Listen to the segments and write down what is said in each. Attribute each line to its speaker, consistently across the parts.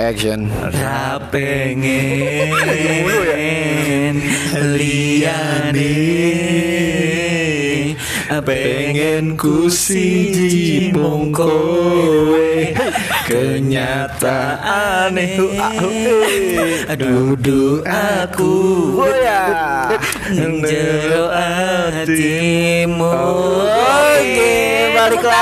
Speaker 1: Action.
Speaker 2: Ra pengen liane Pengen ku siji mung kowe Kenyataane Duduk aku
Speaker 1: Oh, iya.
Speaker 2: Njero hatimu
Speaker 3: Oke,
Speaker 4: balik
Speaker 3: Tepuk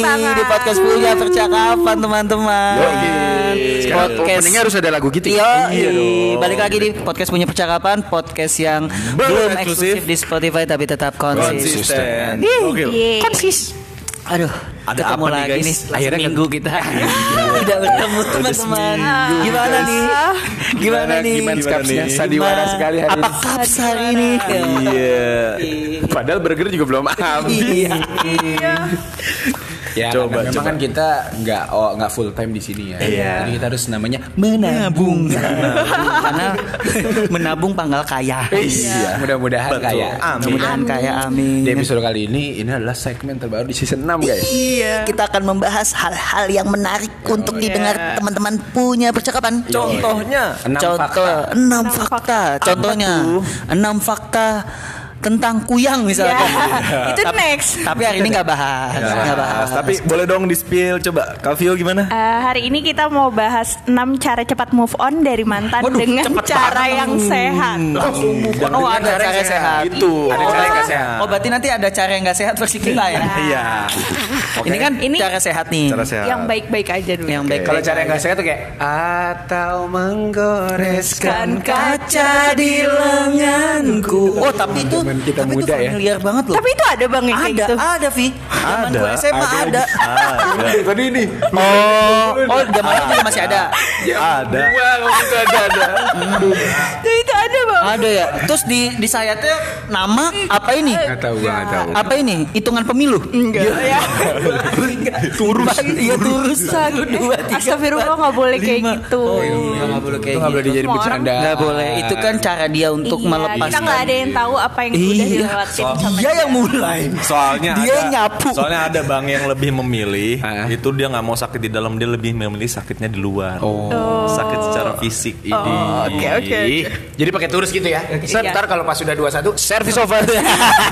Speaker 4: lagi
Speaker 3: tangan, tepuk tangan.
Speaker 4: di podcast punya percakapan teman-teman.
Speaker 1: Yoi. Sekarang openingnya harus ada lagu gitu
Speaker 4: Yo,
Speaker 1: ya.
Speaker 2: Iya dong.
Speaker 4: balik lagi di podcast punya percakapan, podcast yang belum
Speaker 2: eksklusif.
Speaker 4: eksklusif di Spotify tapi tetap konsisten.
Speaker 2: Konsisten Gokil
Speaker 3: Yeay.
Speaker 4: Aduh,
Speaker 2: Ada
Speaker 4: ketemu
Speaker 2: apa nih,
Speaker 4: lagi
Speaker 2: guys?
Speaker 4: nih,
Speaker 2: Akhirnya
Speaker 4: akhirnya minggu kita tidak bertemu teman-teman.
Speaker 3: seminggu,
Speaker 4: Gimana nih? Gimana nih?
Speaker 1: Gimana skapsnya?
Speaker 2: nih?
Speaker 1: Sandiwara sekali hari
Speaker 4: Apa
Speaker 1: ini.
Speaker 4: kabar hari ini?
Speaker 2: Iya
Speaker 1: Padahal burger juga belum habis.
Speaker 4: Iya.
Speaker 1: Ya,
Speaker 2: Coba,
Speaker 1: karena memang kan
Speaker 2: coba.
Speaker 1: kita nggak oh, nggak full time di sini ya.
Speaker 2: Iya.
Speaker 1: Jadi kita harus namanya
Speaker 4: menabung karena menabung panggal kaya
Speaker 1: Iya. Mudah-mudahan
Speaker 2: Betul.
Speaker 1: kayak
Speaker 2: Amin.
Speaker 4: mudah-mudahan kaya amin
Speaker 1: di episode kali ini ini adalah segmen terbaru di season 6 guys.
Speaker 4: Iya. kita akan membahas hal-hal yang menarik
Speaker 2: Iya.
Speaker 4: untuk didengar teman-teman punya percakapan
Speaker 2: Contohnya
Speaker 1: Enam
Speaker 4: contoh
Speaker 1: fakta.
Speaker 4: enam fakta contohnya enam fakta tentang kuyang misalnya
Speaker 3: Ya.
Speaker 4: Iya.
Speaker 3: Itu next.
Speaker 4: tapi hari ini nggak bahas nggak bahas
Speaker 2: Tapi boleh dong di spill Coba Kalvio gimana?
Speaker 3: Eh, hari ini kita mau bahas 6 cara cepat move on dari mantan
Speaker 4: Waduh,
Speaker 3: dengan
Speaker 4: cepet
Speaker 3: cara
Speaker 4: banget.
Speaker 3: yang sehat.
Speaker 2: Langsung bukan
Speaker 4: Oh, ada cara yang sehat.
Speaker 2: Itu Ada cara yang nggak sehat
Speaker 4: Oh berarti nanti ada cara yang nggak sehat versi kita ya.
Speaker 2: Iya Oke.
Speaker 4: Ini kan
Speaker 3: Ini-
Speaker 4: cara sehat nih.
Speaker 2: Cara sehat
Speaker 3: Yang baik-baik aja dulu.
Speaker 4: Yang baik.
Speaker 1: Kalau cara yang nggak sehat tuh kayak atau menggoreskan
Speaker 4: Kan kaca di lenganku. Oh, tapi itu
Speaker 1: Teman kita
Speaker 4: tapi
Speaker 1: muda ya.
Speaker 4: itu familiar banget loh.
Speaker 3: Tapi itu ada bang yang kayak
Speaker 4: ada,
Speaker 3: gitu.
Speaker 4: ada Vi. Zaman
Speaker 2: Ada,
Speaker 4: gue SMA ada.
Speaker 2: Ada
Speaker 1: Tadi ini.
Speaker 2: Oh
Speaker 4: Oh, zaman itu juga masih ada.
Speaker 2: Ada
Speaker 1: ada ada.
Speaker 3: Itu, itu ada bang.
Speaker 4: Ada ya. Terus di di sayatnya nama apa ini?
Speaker 1: Nggak tahu gua
Speaker 4: Iya.
Speaker 1: nggak tahu.
Speaker 4: Apa ini? Hitungan pemilu. Iya.
Speaker 3: Enggak. Ya.
Speaker 4: Turus. Iya, turus. Satu, dua, tiga.
Speaker 3: Astagfirullah nggak boleh kayak
Speaker 4: lima.
Speaker 3: gitu.
Speaker 4: Oh, iya, nggak boleh kayak
Speaker 1: Itu nggak boleh
Speaker 4: gitu.
Speaker 1: dijadiin
Speaker 3: Semua orang-
Speaker 1: bercanda.
Speaker 4: Nggak boleh. Itu kan cara dia untuk kan.
Speaker 3: Iya,
Speaker 4: melepaskan.
Speaker 3: Kita nggak ada yang tahu apa yang udah
Speaker 4: Iya.
Speaker 3: dilewatin sama
Speaker 4: Dia yang mulai.
Speaker 2: Soalnya
Speaker 4: Dia
Speaker 2: ada,
Speaker 4: nyapu.
Speaker 2: Soalnya ada bang yang lebih memilih
Speaker 1: Ah.
Speaker 2: Itu dia nggak mau sakit di dalam Dia lebih memilih sakitnya di luar Sakit secara fisik
Speaker 3: Oh, oke, oke, oke.
Speaker 1: Jadi pakai turus gitu ya. Set,
Speaker 3: Iya.
Speaker 1: Ntar kalau pas sudah 21 service over.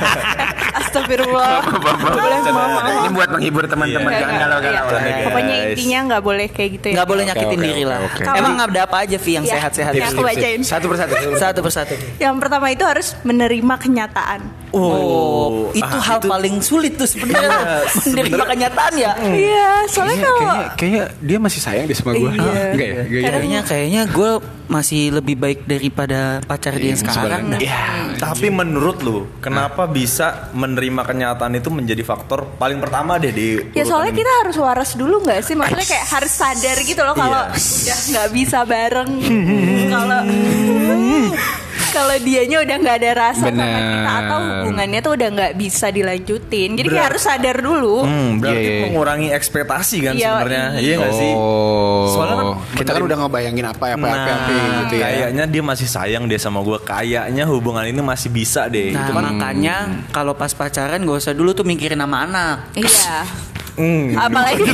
Speaker 3: Astagfirullah. Nggak boleh
Speaker 2: Bercanda.
Speaker 3: mama.
Speaker 1: Ini buat menghibur teman-teman
Speaker 3: Iya.
Speaker 1: jangan
Speaker 3: Iya.
Speaker 1: galau-galau.
Speaker 2: Bercanda,
Speaker 3: Iya.
Speaker 2: guys.
Speaker 3: Pokoknya intinya nggak boleh kayak gitu ya.
Speaker 4: Nggak boleh nyakitin
Speaker 1: oke,
Speaker 4: diri
Speaker 1: oke,
Speaker 4: lah.
Speaker 1: oke.
Speaker 4: Emang ada apa aja Vi yang
Speaker 3: Iya.
Speaker 4: sehat-sehat?
Speaker 3: Iya. Aku bacain.
Speaker 1: Satu persatu.
Speaker 4: Satu persatu.
Speaker 3: Yang pertama itu harus menerima kenyataan.
Speaker 4: Oh, itu
Speaker 2: ah,
Speaker 4: hal paling sulit tuh
Speaker 1: Iya,
Speaker 4: sebenarnya. Menerima kenyataan ya.
Speaker 3: Iya, soalnya kalau
Speaker 1: Kayaknya, kayaknya dia masih sayang deh sama gue.
Speaker 3: Iya.
Speaker 1: Enggak ya? Enggak ya?
Speaker 4: Kayaknya kayaknya gue masih lebih baik daripada pacar dia yang sekarang. dah.
Speaker 1: Iya.
Speaker 2: Tapi menurut lu, kenapa bisa menerima kenyataan itu menjadi faktor paling pertama deh di urutan
Speaker 3: Ya soalnya
Speaker 2: ini?
Speaker 3: kita harus waras dulu nggak sih? Maksudnya kayak harus sadar gitu loh kalau
Speaker 2: Iya.
Speaker 3: udah nggak bisa bareng. Kalau kalau dianya udah nggak ada rasa sama kita
Speaker 1: Bener.
Speaker 3: atau hubungannya tuh udah nggak bisa dilanjutin. Jadi kayak harus sadar dulu.
Speaker 2: Hmm, berarti
Speaker 1: Iya, iya.
Speaker 2: mengurangi ekspektasi kan
Speaker 3: Iya,
Speaker 2: sebenarnya. Iya nggak sih?
Speaker 1: Oh.
Speaker 2: Soalnya kan
Speaker 1: kita kan udah ngebayangin apa ya, apa apa, apa gitu ya.
Speaker 2: Kayaknya dia masih sayang deh sama gue. Kayaknya hubungan ini masih bisa deh.
Speaker 4: Nah,
Speaker 2: Itu kan
Speaker 4: makanya kalau pas pacaran gak usah dulu tuh mikirin nama anak.
Speaker 3: Iya.
Speaker 2: Hmm.
Speaker 3: Apalagi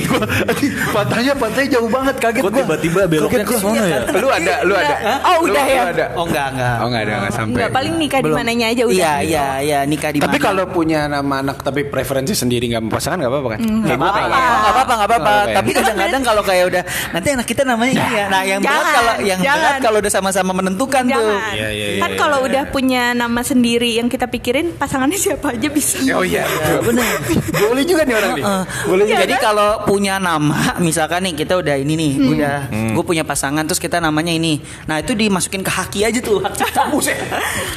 Speaker 1: Pantainya pantai jauh banget kaget
Speaker 2: Kok
Speaker 1: gua.
Speaker 2: tiba-tiba
Speaker 1: Kaget
Speaker 2: beloknya ke sana ya?
Speaker 1: gua. Lu ada, lu ada.
Speaker 3: Oh, udah
Speaker 1: Lu-
Speaker 3: ya?
Speaker 1: Lu ada.
Speaker 4: Oh enggak enggak.
Speaker 1: Oh enggak ada, enggak sampai.
Speaker 3: nggak paling nikah di
Speaker 4: Belum.
Speaker 3: mananya aja udah.
Speaker 4: Iya iya iya nikah di
Speaker 1: Tapi
Speaker 4: mana.
Speaker 1: kalau punya nama anak tapi preferensi sendiri nggak mau pasangan nggak apa-apa kan?
Speaker 3: Mm,
Speaker 1: Kayak
Speaker 4: Gak
Speaker 1: gua
Speaker 4: apa-apa,
Speaker 1: kayak-
Speaker 4: gak apa-apa, gak apa-apa.
Speaker 1: Nggak apa-apa ya?
Speaker 4: Tapi kadang-kadang kalau kayak udah nanti anak kita namanya ini ya. Nah, yang berat
Speaker 3: Jangan,
Speaker 4: kalau yang berat
Speaker 3: jangan.
Speaker 4: kalau udah sama-sama menentukan tuh.
Speaker 3: Jangan.
Speaker 2: Iya, iya,
Speaker 3: kan
Speaker 2: iya,
Speaker 3: kalau udah punya nama sendiri yang kita pikirin pasangannya siapa aja bisa.
Speaker 1: Oh iya, benar. Boleh juga nih orang nih. Boleh juga.
Speaker 4: Jadi kalau punya nama, misalkan nih kita udah ini nih, udah gue punya pasangan terus kita namanya ini. Nah, itu dimasukin ke haki aja tuh, hak cipta.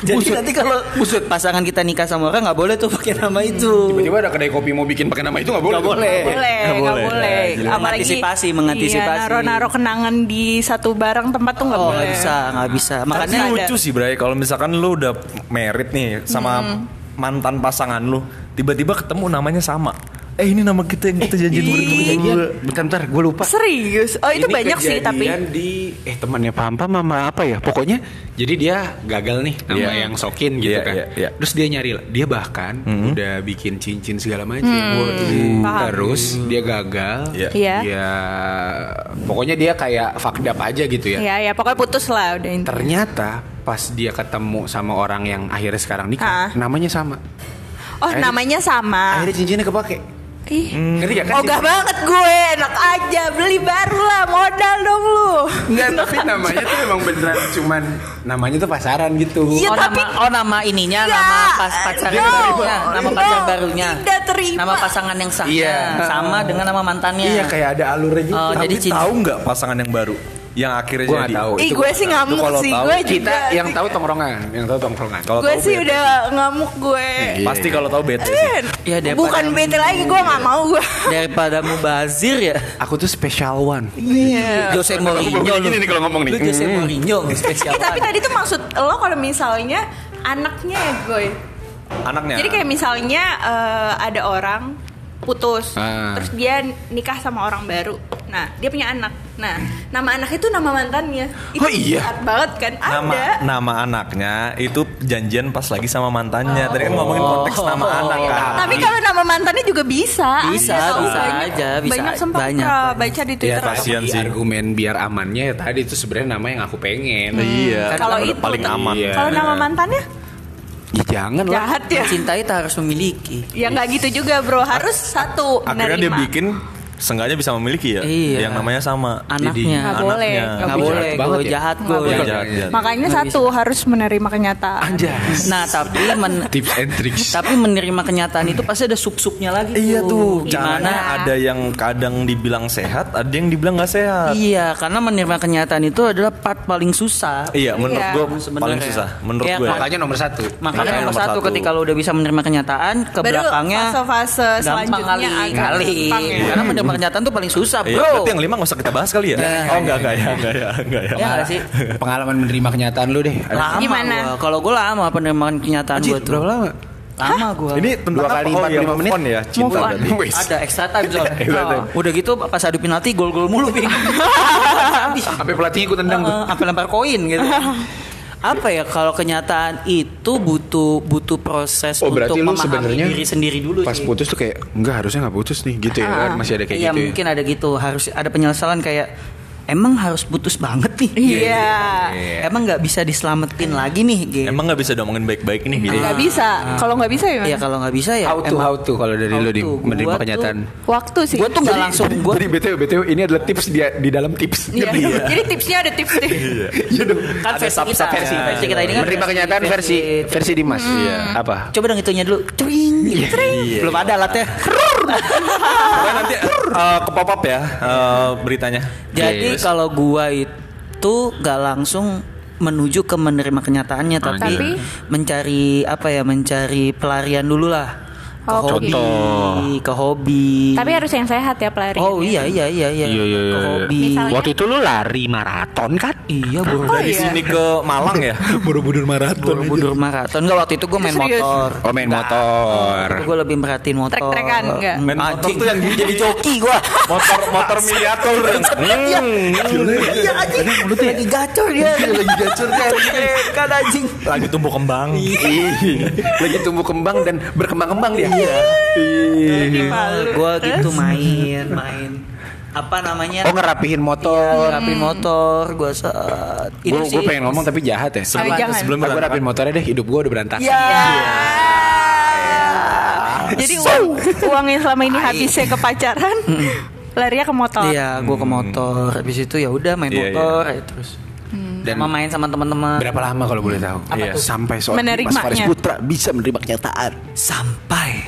Speaker 4: Jadi nanti kalau pasangan kita nikah sama orang nggak boleh tuh pakai nama itu.
Speaker 1: Tiba-tiba ada kedai kopi mau bikin pakai nama itu nggak boleh.
Speaker 4: Nggak boleh.
Speaker 3: Nggak boleh, Iya.
Speaker 2: Nggak
Speaker 3: nggak
Speaker 2: boleh.
Speaker 3: boleh.
Speaker 2: Nah, jadi
Speaker 4: mengantisipasi, mengantisipasi.
Speaker 3: Iya, naro-naro kenangan di satu barang tempat tuh nggak
Speaker 4: Oh,
Speaker 3: boleh.
Speaker 4: nggak bisa, nggak bisa.
Speaker 2: Tapi
Speaker 4: Makanya
Speaker 2: lucu sih Bray kalau misalkan lu udah merit nih sama mantan pasangan lu tiba-tiba ketemu namanya sama eh ini nama kita yang kita janjian
Speaker 3: Iya.
Speaker 2: berdua.
Speaker 1: Bentar, bentar, gue lupa.
Speaker 3: Serius? Oh itu
Speaker 1: Ini
Speaker 3: banyak sih tapi.
Speaker 1: kejadian di eh temannya Pampa mama apa ya? Pokoknya jadi dia gagal nih sama
Speaker 2: Iya.
Speaker 1: yang sokin gitu
Speaker 2: Iya,
Speaker 1: kan.
Speaker 2: iya, iya. Hmm.
Speaker 1: Terus dia nyari lah. Dia bahkan udah bikin cincin segala macam.
Speaker 3: Hmm. paham.
Speaker 1: Terus dia gagal.
Speaker 2: Iya.
Speaker 3: Iya.
Speaker 1: Dia pokoknya dia kayak fucked up aja gitu ya.
Speaker 3: Ya ya pokoknya putus lah udah intinya.
Speaker 1: Ternyata pas dia ketemu sama orang yang akhirnya sekarang nikah,
Speaker 3: Ah.
Speaker 1: namanya sama.
Speaker 3: Oh namanya sama.
Speaker 1: Akhirnya cincinnya kepake.
Speaker 3: Ih.
Speaker 1: Ngerti gak kan?
Speaker 3: Ogah banget gue, enak aja beli baru lah modal dong lu.
Speaker 1: Enggak, tapi namanya tuh emang beneran cuman namanya tuh pasaran gitu.
Speaker 3: Iya,
Speaker 4: oh,
Speaker 3: tapi-
Speaker 4: nama, oh nama ininya,
Speaker 3: Enggak.
Speaker 4: nama pas pacar
Speaker 3: No.
Speaker 4: barunya, nama pacar
Speaker 3: No,
Speaker 4: barunya,
Speaker 3: tidak terima.
Speaker 4: nama pasangan yang sama,
Speaker 1: Iya.
Speaker 4: sama dengan nama mantannya.
Speaker 1: Iya, kayak ada alurnya gitu.
Speaker 4: Oh, jadi
Speaker 2: Jadi
Speaker 4: cinta.
Speaker 2: tahu nggak pasangan yang baru yang akhirnya
Speaker 1: Gua nggak
Speaker 2: jadi?
Speaker 1: tahu. Oh,
Speaker 3: Ih
Speaker 1: itu
Speaker 3: gue
Speaker 1: gua
Speaker 3: sih
Speaker 1: tahu.
Speaker 3: ngamuk
Speaker 2: Itu kalau
Speaker 3: sih
Speaker 2: tahu,
Speaker 3: gue
Speaker 1: kita
Speaker 3: juga.
Speaker 1: yang tahu tongkrongan, yang tahu tongkrongan.
Speaker 2: Kalau
Speaker 3: gue
Speaker 2: tahu ya. iya.
Speaker 3: sih
Speaker 2: bete.
Speaker 3: udah Eh. ngamuk gue.
Speaker 2: Pasti kalau tahu bete sih.
Speaker 4: Ya, daripada-
Speaker 3: Bukan bete lagi gue nggak mau gue.
Speaker 4: daripada mubazir ya.
Speaker 1: aku tuh special one.
Speaker 4: Jose Mourinho lu.
Speaker 1: Gini nih kalau ngomong nih.
Speaker 4: Iya. Lu Jose Mourinho
Speaker 3: Eh,
Speaker 4: spesial.
Speaker 3: tapi tadi tuh maksud lo kalau misalnya anaknya ya gue.
Speaker 4: Ya.
Speaker 2: Anaknya.
Speaker 3: Jadi kayak misalnya eh, ada orang putus,
Speaker 1: Ah.
Speaker 3: terus dia nikah sama orang baru. Nah, dia punya anak. Nah, nama anak itu nama mantannya. Itu
Speaker 1: Oh, iya?
Speaker 3: jahat banget kan?
Speaker 2: nama
Speaker 3: Ada.
Speaker 2: nama anaknya itu janjian pas lagi sama mantannya. Tadi kan ngomongin konteks nama anak kan.
Speaker 3: Tapi kalau nama mantannya juga bisa.
Speaker 4: Bisa,
Speaker 3: Ada kok,
Speaker 4: bisa
Speaker 3: banyak-
Speaker 4: aja, bisa
Speaker 3: Banyak sempat
Speaker 4: banyak,
Speaker 3: pra-
Speaker 4: banyak.
Speaker 3: baca di
Speaker 1: Ya
Speaker 3: Twitter.
Speaker 1: kasihan
Speaker 2: kasihan
Speaker 1: sih.
Speaker 2: sih.
Speaker 1: Argumen biar amannya ya tadi itu sebenarnya nama yang aku pengen.
Speaker 2: Iya.
Speaker 4: Kan
Speaker 3: Kalau
Speaker 4: nama
Speaker 3: itu
Speaker 2: paling
Speaker 3: tuh-
Speaker 2: aman.
Speaker 4: iya.
Speaker 3: Kalau nama mantannya
Speaker 1: Iya. Ya jangan lah.
Speaker 3: jahat ya.
Speaker 4: Cintai tak harus memiliki.
Speaker 3: Ya nggak gitu juga bro, harus
Speaker 4: Iya.
Speaker 3: satu nah,
Speaker 2: Akhirnya dia
Speaker 3: menerima.
Speaker 2: bikin sengaja bisa memiliki ya.
Speaker 4: Iya.
Speaker 2: Yang namanya sama.
Speaker 4: Anaknya.
Speaker 3: Nggak boleh.
Speaker 2: Anaknya.
Speaker 4: Nggak
Speaker 3: Tapi
Speaker 4: boleh,
Speaker 1: jahat banget
Speaker 4: gue
Speaker 1: ya.
Speaker 4: jahat gue.
Speaker 2: Iya, jahat, jahat.
Speaker 3: Makanya satu harus menerima kenyataan.
Speaker 1: Anjay.
Speaker 4: Nah tapi men-
Speaker 1: Tips and tricks.
Speaker 4: tapi menerima kenyataan itu pasti ada sub-subnya lagi.
Speaker 2: Iya tuh,
Speaker 4: Gimana?
Speaker 2: caranya ada yang kadang dibilang sehat, ada yang dibilang nggak sehat.
Speaker 4: Iya, karena menerima kenyataan itu adalah part paling susah.
Speaker 2: Iya, menurut
Speaker 3: Iya.
Speaker 2: gue
Speaker 4: Sebenarnya.
Speaker 2: paling susah. Menurut
Speaker 4: Iya
Speaker 2: ya. gue.
Speaker 4: kan?
Speaker 1: Makanya nomor satu.
Speaker 4: Makanya nomor,
Speaker 2: nomor
Speaker 4: satu,
Speaker 2: satu.
Speaker 4: ketika lo udah bisa menerima kenyataan ke
Speaker 3: Baru
Speaker 4: belakangnya
Speaker 3: fase-fase
Speaker 4: gampang
Speaker 3: selanjutnya
Speaker 4: kali.
Speaker 3: agak
Speaker 4: Kali. Iya.
Speaker 3: gampang ya.
Speaker 4: Karena menerima kenyataan tuh paling susah,
Speaker 2: Iya,
Speaker 4: bro.
Speaker 2: berarti yang lima nggak usah kita bahas kali ya? oh enggak, enggak ya, enggak ya, enggak ya.
Speaker 4: Ya nggak sih?
Speaker 1: Pengalaman menerima kenyataan lu deh. Ada-
Speaker 4: Lama
Speaker 3: Gimana?
Speaker 4: gua. Kalau gue lama penerimaan kenyataan gue tuh.
Speaker 1: Berapa lama?
Speaker 4: Lama gue.
Speaker 2: Ini
Speaker 1: Dua
Speaker 2: tentang apa?
Speaker 1: kali
Speaker 2: Oh,
Speaker 1: 45
Speaker 2: move
Speaker 1: menit.
Speaker 2: on ya, cinta
Speaker 3: Move on.
Speaker 2: berarti.
Speaker 1: Wis.
Speaker 4: ada extra time soalnya.
Speaker 1: Extra time.
Speaker 4: Oh. Udah gitu pas adu penalti gol-gol mulu, Bing.
Speaker 1: Sampai pelatihnya ikut tendang tuh.
Speaker 4: Eh, sampai lempar koin gitu. Apa ya kalau kenyataan itu butuh butuh proses
Speaker 1: Oh
Speaker 4: untuk
Speaker 1: berarti lu
Speaker 4: memahami
Speaker 1: sebenarnya
Speaker 4: diri sendiri dulu
Speaker 1: Pas
Speaker 4: sih.
Speaker 1: putus tuh kayak enggak harusnya nggak putus nih gitu ya kan masih ada kayak
Speaker 4: Iya
Speaker 1: gitu. ya.
Speaker 4: mungkin ada gitu harus ada penyesalan kayak emang harus putus banget nih.
Speaker 3: Iya.
Speaker 4: Emang nggak bisa diselamatin lagi nih, Gitu. geng.
Speaker 2: Emang nggak bisa diomongin baik-baik nih gitu.
Speaker 3: Nggak bisa. Kalau nggak bisa ya.
Speaker 4: Ya kalau nggak bisa ya.
Speaker 1: How to
Speaker 4: emang-
Speaker 1: how to kalau dari
Speaker 4: How
Speaker 1: lu di
Speaker 4: to.
Speaker 1: menerima
Speaker 4: Gua
Speaker 1: kenyataan.
Speaker 4: tuh-
Speaker 3: Waktu sih.
Speaker 4: Gua tuh nggak langsung gua
Speaker 1: Jadi BTW BTW ini adalah tips dia di dalam tips. ya?
Speaker 3: Iya. Jadi tipsnya ada tips deh.
Speaker 1: Iya dong.
Speaker 4: kan versi kita, versi, versi kita ini kan
Speaker 1: Iya. menerima kenyataan versi versi Dimas.
Speaker 4: Hmm.
Speaker 1: Iya. Apa?
Speaker 4: Coba dong itunya dulu. Cuing.
Speaker 2: Iya,
Speaker 4: Belum ada alatnya.
Speaker 2: Pokoknya nanti eh, ke pop up ya eh, beritanya.
Speaker 4: Jadi
Speaker 2: Iya,
Speaker 1: Yes.
Speaker 4: kalau gua itu nggak langsung menuju ke menerima kenyataannya
Speaker 2: Ah,
Speaker 4: tapi,
Speaker 2: iya.
Speaker 3: Tapi?
Speaker 4: mencari apa ya mencari pelarian dulu lah ke
Speaker 3: Oh, Oke.
Speaker 4: hobi ke hobi
Speaker 3: Tapi harus yang sehat ya pelari.
Speaker 4: oh iya iya iya iya ke hobi
Speaker 3: Misalnya-
Speaker 1: Waktu itu lu lari maraton kan?
Speaker 4: iya bro
Speaker 2: Dari sini ke Malang ya.
Speaker 1: Borobudur maraton.
Speaker 4: Borobudur maraton nggak waktu itu gua main
Speaker 3: Serius?
Speaker 4: motor
Speaker 1: Oh main motor.
Speaker 4: gue lebih merhatiin motor
Speaker 3: Trek-trekan nggak?
Speaker 4: Hmm,
Speaker 2: Main motor
Speaker 4: anjing.
Speaker 2: tuh yang jadi joki gua. Motor motor miniatur. yang-
Speaker 4: Iya anjing
Speaker 1: ya?
Speaker 4: Lagi gacor dia
Speaker 1: Iya,
Speaker 4: Lagi gacor Kan anjing
Speaker 2: Hmm. Lagi tumbuh kembang.
Speaker 1: Iya. Ih, Lagi tumbuh kembang dan berkembang-kembang dia.
Speaker 4: Iya.
Speaker 1: Iya. Ih.
Speaker 4: Gue gitu main Main Apa namanya
Speaker 1: Oh ngerapihin motor.
Speaker 4: Rapin motor Gue saat
Speaker 1: Gue gue pengen ngomong tapi jahat ya.
Speaker 2: Sebelum
Speaker 3: jangan.
Speaker 2: sebelum
Speaker 1: Aku
Speaker 2: berantakan.
Speaker 1: rapin motornya deh, hidup gue udah berantakan.
Speaker 4: Iya
Speaker 3: Jadi uang, uang yang selama ini habisnya ke pacaran, larinya ke motor.
Speaker 4: Hmm. Iya gue
Speaker 1: Hmm.
Speaker 4: ke motor Habis itu ya udah main
Speaker 2: Iya,
Speaker 4: motor ya, Terus
Speaker 1: Dan
Speaker 4: Sama main sama teman-teman
Speaker 1: berapa lama kalau boleh tahu?
Speaker 4: Apa
Speaker 1: Iya.
Speaker 4: tuh?
Speaker 1: Sampai soal Mas
Speaker 3: Menerimanya.
Speaker 1: Faris Putra bisa menerima kenyataan.
Speaker 4: Sampai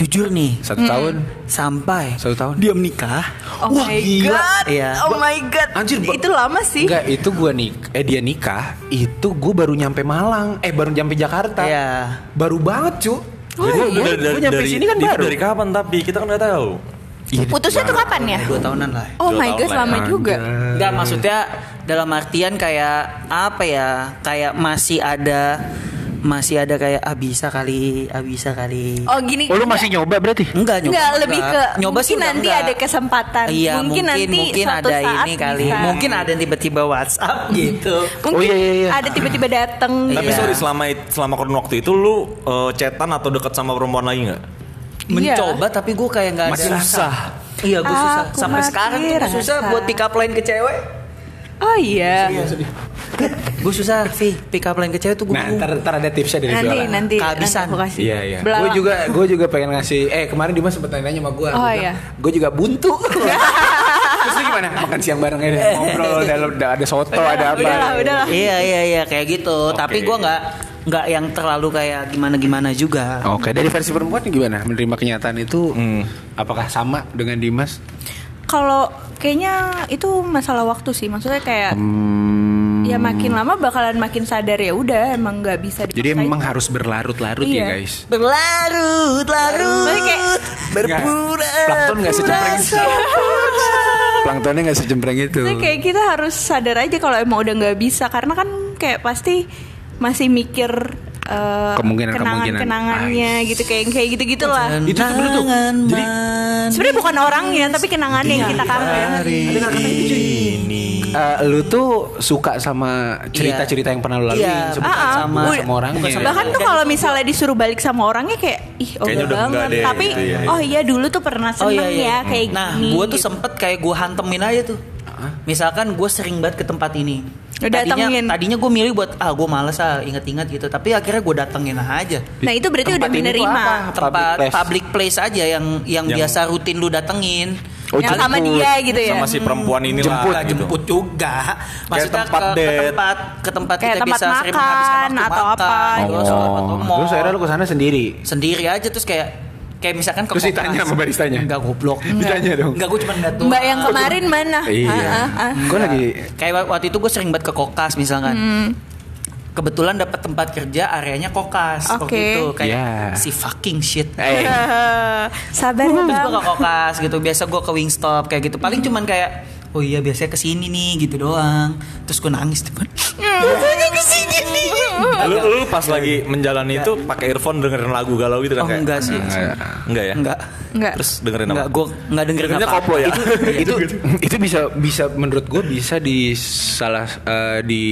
Speaker 4: Jujur nih
Speaker 1: Satu tahun.
Speaker 4: Sampai
Speaker 1: Satu tahun.
Speaker 4: Dia menikah
Speaker 3: Oh my god.
Speaker 4: Iya.
Speaker 3: Oh my god.
Speaker 1: Anjir, ba-
Speaker 3: itu lama sih.
Speaker 1: Enggak, itu gue nik eh dia nikah, itu gue baru nyampe Malang, eh baru nyampe Jakarta.
Speaker 4: Iya.
Speaker 1: Baru banget, cu.
Speaker 3: Oh,
Speaker 2: Jadi
Speaker 3: iya.
Speaker 1: Gua- gua-
Speaker 2: dari-
Speaker 1: gua
Speaker 2: dari-
Speaker 1: nyampe
Speaker 2: dari-
Speaker 1: sini kan
Speaker 2: itu
Speaker 1: baru.
Speaker 2: Dari kapan tapi kita kan nggak tahu.
Speaker 1: Iya,
Speaker 3: Putusnya tuh kapan ya?
Speaker 4: Dua tahunan lah
Speaker 3: Oh
Speaker 2: Dua
Speaker 3: my
Speaker 2: tahun lah
Speaker 3: god,
Speaker 2: ya.
Speaker 3: lama juga.
Speaker 4: Enggak maksudnya dalam artian kayak apa ya? Kayak masih ada masih ada kayak ah bisa kali, ah bisa kali.
Speaker 3: Oh gini.
Speaker 5: Oh, lu masih nyoba berarti?
Speaker 4: Enggak, nyoba.
Speaker 3: Enggak,
Speaker 4: enggak.
Speaker 3: lebih ke
Speaker 4: nyoba
Speaker 3: mungkin
Speaker 4: sih udah
Speaker 3: nanti
Speaker 4: enggak.
Speaker 3: ada kesempatan.
Speaker 4: Iya,
Speaker 3: Mungkin
Speaker 4: mungkin
Speaker 3: nanti
Speaker 4: mungkin
Speaker 3: suatu
Speaker 4: ada
Speaker 3: saat
Speaker 4: ini kali. ya.
Speaker 3: bisa.
Speaker 4: Mungkin ada yang tiba-tiba WhatsApp gitu.
Speaker 3: Mungkin
Speaker 5: Oh, iya, iya, iya.
Speaker 3: ada tiba-tiba dateng.
Speaker 2: Tapi
Speaker 4: Iya.
Speaker 2: sorry selama selama kurun waktu itu lu eh, chatan atau deket sama perempuan lagi nggak?
Speaker 3: Iya.
Speaker 4: Mencoba tapi gue kayak enggak ada
Speaker 1: Masih susah.
Speaker 4: Iya, gue susah.
Speaker 3: Aku
Speaker 4: Sampai
Speaker 3: mati
Speaker 4: sekarang tuh gua susah
Speaker 3: rasa.
Speaker 4: buat pick up line ke cewek.
Speaker 3: Oh iya.
Speaker 4: Gue susah, Vi. Pick up line ke cewek tuh gue
Speaker 1: Nah, ntar, ntar ada tipsnya dari
Speaker 3: Nanti
Speaker 1: Viola.
Speaker 3: nanti
Speaker 4: Kehabisan.
Speaker 3: nanti aku kasih.
Speaker 1: Iya iya.
Speaker 3: Belalang.
Speaker 1: Gue juga gue juga pengen ngasih. Eh kemarin Dimas sempet nanya sama gue.
Speaker 3: Oh, iya.
Speaker 1: Gue juga buntu. Terus lu gimana? Makan siang bareng aja
Speaker 3: Iya.
Speaker 1: ngobrol dalam ada soto ada apa?
Speaker 3: Udahlah, udahlah.
Speaker 4: Iya, iya, iya, kayak gitu. Tapi gue nggak nggak yang terlalu kayak gimana-gimana juga.
Speaker 1: Oke, dari versi perempuan gimana? Menerima kenyataan itu apakah sama dengan Dimas?
Speaker 3: Kalau kayaknya itu masalah waktu sih. Maksudnya kayak ya makin lama bakalan makin sadar ya udah emang nggak bisa
Speaker 1: Jadi
Speaker 3: dipaksain.
Speaker 1: memang harus berlarut-larut
Speaker 3: Iya.
Speaker 1: ya guys.
Speaker 4: Berlarut,
Speaker 3: Maksudnya
Speaker 4: larut.
Speaker 3: kayak
Speaker 4: Berpura.
Speaker 1: Plankton nggak secempreng. Planktonnya nggak secempreng itu.
Speaker 3: Maksudnya kayak gitu. kita harus sadar aja kalau emang udah nggak bisa karena kan kayak pasti masih mikir eh,
Speaker 1: Kemungkinan- kemungkinan.
Speaker 2: Ah,
Speaker 3: kenangan-kenangannya
Speaker 2: iya.
Speaker 1: Ais.
Speaker 3: gitu kayak kayak gitu-gitu lah.
Speaker 2: kan
Speaker 1: Itu tuh bener tuh. Jadi
Speaker 3: Sebenarnya bukan orangnya tapi kenangannya yang
Speaker 2: Iya.
Speaker 3: kita kangen.
Speaker 1: eh, lu tuh suka sama cerita-cerita yang pernah lu lalui
Speaker 4: Iya,
Speaker 1: sebelum-
Speaker 3: Ah, ah.
Speaker 4: sama-
Speaker 1: bukan sama Iya. orangnya.
Speaker 4: bukan sama
Speaker 3: Bahkan tuh kalau misalnya disuruh balik sama orangnya kayak ih oke
Speaker 2: Iya. Kayaknya udah
Speaker 3: banget.
Speaker 2: enggak deh,
Speaker 3: Tapi
Speaker 2: gitu ya.
Speaker 3: oh iya dulu tuh pernah seneng
Speaker 1: Hmm.
Speaker 3: ya kayak
Speaker 4: nah,
Speaker 3: gini.
Speaker 4: gue tuh
Speaker 3: gitu.
Speaker 4: sempet kayak gue hantemin aja tuh. Misalkan gue sering banget ke tempat ini.
Speaker 3: Lu
Speaker 4: Tadinya,
Speaker 3: datengin.
Speaker 4: tadinya gue milih buat ah gue males ah inget-inget gitu. Tapi akhirnya gue datengin aja.
Speaker 3: Nah, itu berarti udah
Speaker 1: Tempat ini tuh
Speaker 3: menerima.
Speaker 1: apa?
Speaker 4: Iya, Tempat
Speaker 1: Public place.
Speaker 4: public place, aja yang, yang
Speaker 2: Yang-
Speaker 4: biasa rutin lu datengin.
Speaker 1: Oh,
Speaker 3: yang sama
Speaker 1: jemput.
Speaker 3: dia gitu ya.
Speaker 2: Sama si perempuan ini
Speaker 1: Jemput,
Speaker 2: lah. gitu.
Speaker 4: Iya, jemput juga maksudnya
Speaker 2: tempat
Speaker 4: ke, ke
Speaker 2: date.
Speaker 4: tempat ke tempat
Speaker 3: Kayak
Speaker 4: kita
Speaker 3: tempat
Speaker 4: bisa sering
Speaker 3: makan
Speaker 4: menghabiskan waktu
Speaker 3: atau
Speaker 4: makan,
Speaker 3: apa
Speaker 4: gitu.
Speaker 3: gitu.
Speaker 4: Atau mall.
Speaker 1: Oh. Terus akhirnya lu kesana sendiri.
Speaker 4: sendiri aja terus kayak kayak misalkan ke
Speaker 1: Terus
Speaker 4: Kopnas.
Speaker 1: ditanya sama baristanya?
Speaker 4: enggak goblok
Speaker 1: Ditanya dong.
Speaker 4: enggak gue cuma enggak tuh
Speaker 3: Mbak yang kemarin mana?
Speaker 2: Iya.
Speaker 1: Iya.
Speaker 3: Ah, ah, ah.
Speaker 1: Gue lagi
Speaker 4: kayak wa- waktu itu gue sering banget ke kokas misalkan
Speaker 3: Hmm.
Speaker 4: kebetulan dapat tempat kerja areanya kokas
Speaker 3: Oke.
Speaker 4: waktu itu kayak
Speaker 1: Ya.
Speaker 4: si fucking shit
Speaker 1: eh
Speaker 3: Ah. Sabar ya,
Speaker 4: terus gue
Speaker 3: Bang.
Speaker 4: ke kokas gitu biasa gue ke wingstop kayak gitu paling cuman kayak oh iya biasanya kesini nih gitu doang terus gue nangis teman biasanya kesini nih
Speaker 2: Lu, lu pas lagi menjalani itu pakai earphone dengerin lagu galau gitu kan
Speaker 4: oh
Speaker 2: kayak?
Speaker 4: enggak sih
Speaker 2: Enggak
Speaker 1: Iya.
Speaker 2: ya?
Speaker 4: enggak
Speaker 3: Enggak.
Speaker 2: Terus dengerin apa?
Speaker 4: enggak gue enggak dengerin
Speaker 2: Dengernya
Speaker 4: apa
Speaker 2: koplo ya?
Speaker 4: itu
Speaker 1: itu itu bisa bisa menurut gue bisa di salah eh, di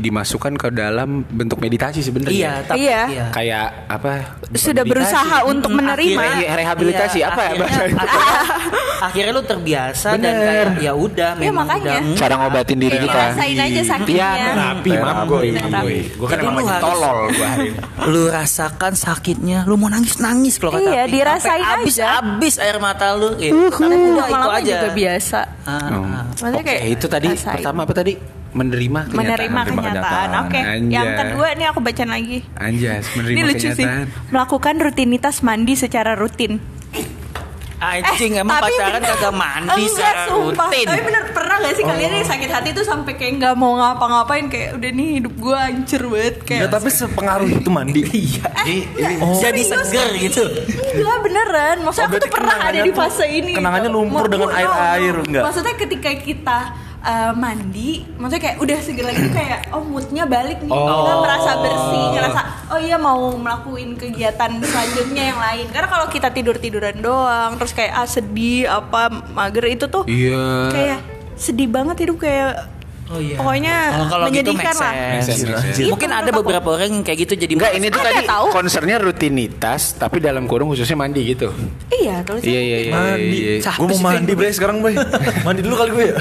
Speaker 1: dimasukkan ke dalam bentuk meditasi
Speaker 4: iya
Speaker 1: sebenarnya.
Speaker 4: tapi
Speaker 3: Iya.
Speaker 1: Kayak apa?
Speaker 3: Sudah
Speaker 1: meditasi.
Speaker 3: berusaha untuk menerima.
Speaker 1: Hmm, Akhirnya- Iya, rehabilitasi, apa ya
Speaker 4: iya, akhirnya,
Speaker 1: bahasa itu?
Speaker 4: akhirnya, akhirnya lu terbiasa dan
Speaker 1: Bener.
Speaker 4: kayak ya udah
Speaker 3: Iya,
Speaker 4: memang
Speaker 3: makanya.
Speaker 4: udah Hmm. enggak.
Speaker 1: Cara ngobatin diri
Speaker 3: Kayak
Speaker 1: kita.
Speaker 3: dirasain aja sakitnya.
Speaker 1: Iya, terapi, maaf gue.
Speaker 3: Terapi.
Speaker 1: Gue kan
Speaker 4: Jadi
Speaker 1: emang
Speaker 4: lu
Speaker 1: lagi
Speaker 4: harus-
Speaker 1: tolol gue hari ini.
Speaker 4: lu rasakan sakitnya lu mau nangis nangis kalau kata
Speaker 3: Iya,
Speaker 4: Api.
Speaker 3: dirasain
Speaker 4: Sampai abis
Speaker 3: aja.
Speaker 4: abis air mata lu ya, karena udah itu
Speaker 3: Lama-lama
Speaker 4: aja
Speaker 3: juga biasa.
Speaker 4: Ah,
Speaker 1: Oh.
Speaker 4: ah.
Speaker 3: Maksudnya
Speaker 1: Oke, itu tadi
Speaker 3: rasain.
Speaker 1: pertama apa tadi? Menerima kenyataan.
Speaker 3: menerima
Speaker 2: Menerima
Speaker 3: kenyataan.
Speaker 2: kenyataan.
Speaker 3: Oke,
Speaker 1: Anjay.
Speaker 3: yang kedua nih aku bacain lagi.
Speaker 1: Anjas, menerima
Speaker 3: Ini lucu sih.
Speaker 1: kenyataan.
Speaker 3: Melakukan rutinitas mandi secara rutin.
Speaker 4: anjing Eh, emang
Speaker 3: Eh, tapi-
Speaker 4: pacaran kagak mandi
Speaker 3: Enggak,
Speaker 4: secara
Speaker 3: sumpah.
Speaker 4: rutin
Speaker 3: Tapi bener pernah gak sih kalian
Speaker 1: Oh.
Speaker 3: yang sakit hati tuh sampai kayak nggak mau ngapa-ngapain kayak udah nih hidup gue hancur banget kayak.
Speaker 2: Ya, tapi sepengaruh itu mandi. Iya.
Speaker 4: jadi
Speaker 3: Oh,
Speaker 4: seger gitu
Speaker 3: Enggak beneran.
Speaker 2: Oh,
Speaker 3: Maksudnya aku tuh
Speaker 2: berarti
Speaker 3: pernah ada
Speaker 2: kenangannya
Speaker 3: di
Speaker 2: tuh-
Speaker 3: fase ini.
Speaker 2: kenangannya
Speaker 3: gitu.
Speaker 2: lumpur
Speaker 3: Mau-
Speaker 2: dengan
Speaker 3: no,
Speaker 2: air-air,
Speaker 3: no.
Speaker 2: enggak?
Speaker 3: Maksudnya ketika kita eh, mandi, maksudnya kayak udah segera lagi tuh kayak oh moodnya balik nih. Kita
Speaker 2: Oh.
Speaker 3: merasa bersih, ngerasa oh iya mau melakukan kegiatan selanjutnya yang lain. Karena kalau kita tidur-tiduran doang, terus kayak ah sedih apa mager itu tuh
Speaker 1: Iya.
Speaker 3: kayak sedih banget hidup kayak
Speaker 4: Oh, iya.
Speaker 3: Pokoknya
Speaker 4: Oh, kalau gitu
Speaker 3: menyedihkan
Speaker 4: make
Speaker 3: lah.
Speaker 4: sense.
Speaker 1: Make sense, make sense.
Speaker 4: Mungkin
Speaker 3: Itu
Speaker 4: ada
Speaker 3: menurut
Speaker 4: beberapa orang yang kayak gitu jadi
Speaker 1: Enggak, ini tuh
Speaker 3: Ada
Speaker 1: tadi
Speaker 3: tahu.
Speaker 1: konsernya rutinitas, tapi dalam kurung khususnya mandi gitu.
Speaker 3: Iya, terus
Speaker 1: Iya, iya, iya.
Speaker 2: Mandi.
Speaker 1: iya, iya.
Speaker 4: Cah.
Speaker 2: Gue mau
Speaker 4: Habis itu
Speaker 2: mandi
Speaker 4: yang-
Speaker 2: bre sekarang bre. mandi dulu kali gue ya.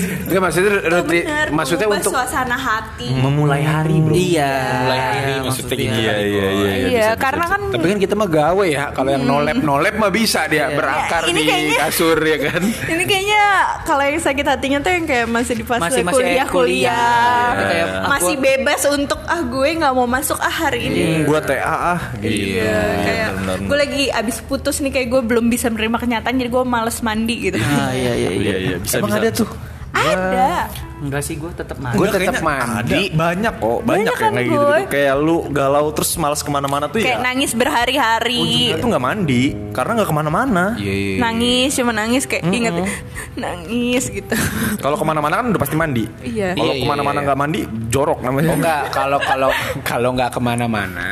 Speaker 1: Enggak maksudnya rutin,
Speaker 3: bener,
Speaker 1: maksudnya
Speaker 3: mengubah
Speaker 1: untuk
Speaker 3: suasana hati.
Speaker 2: Hmm,
Speaker 1: memulai hari, Bro.
Speaker 4: Iya.
Speaker 1: Mulai hari maksudnya gitu.
Speaker 2: Iya iya iya.
Speaker 3: Iya, karena kan
Speaker 1: Tapi kan kita mah gawe ya. Kalau yang nolep nolep mah bisa dia berakar
Speaker 3: Ya, ini
Speaker 1: di
Speaker 3: kayaknya-
Speaker 1: kasur ya kan.
Speaker 3: Ini kayaknya kalau yang sakit hatinya tuh yang kayak masih di fase
Speaker 4: Masih- masih
Speaker 3: kuliah, kuliah,
Speaker 4: kuliah. gitu ya.
Speaker 2: Iya.
Speaker 3: Kayak masih
Speaker 4: aku- Iya,
Speaker 3: bebas untuk ah gue nggak mau masuk ah hari ini.
Speaker 2: Gue TA ah. Gitu.
Speaker 1: Iya,
Speaker 3: Kayak
Speaker 2: benar, benar.
Speaker 3: gue lagi abis putus
Speaker 4: Nah,
Speaker 3: nih kayak gue belum bisa menerima kenyataan jadi gue males mandi gitu.
Speaker 4: Ah iya iya iya.
Speaker 2: Iya iya bisa bisa.
Speaker 1: tuh.
Speaker 3: Ada.
Speaker 4: Enggak sih gue tetap mandi.
Speaker 1: Gue
Speaker 2: Enggak,
Speaker 1: tetap
Speaker 2: kayaknya
Speaker 1: mandi.
Speaker 2: ada. Banyak kok, banyak,
Speaker 3: Banyak
Speaker 2: yang
Speaker 3: kan,
Speaker 2: kayak gitu,
Speaker 3: Boy?
Speaker 2: Kayak lu galau terus malas kemana-mana tuh
Speaker 3: Kayak
Speaker 2: ya.
Speaker 3: nangis berhari-hari.
Speaker 2: Ujungnya tuh nggak mandi karena nggak kemana-mana.
Speaker 1: Iya, iya, iya.
Speaker 3: Nangis, cuma nangis kayak inget nangis gitu.
Speaker 2: Kalau kemana-mana kan udah pasti mandi.
Speaker 3: Iya.
Speaker 2: Kalau
Speaker 1: Iya, iya,
Speaker 2: kemana-mana
Speaker 1: iya.
Speaker 2: nggak mandi, jorok namanya.
Speaker 1: Oh enggak, kalau kalau kalau nggak kemana-mana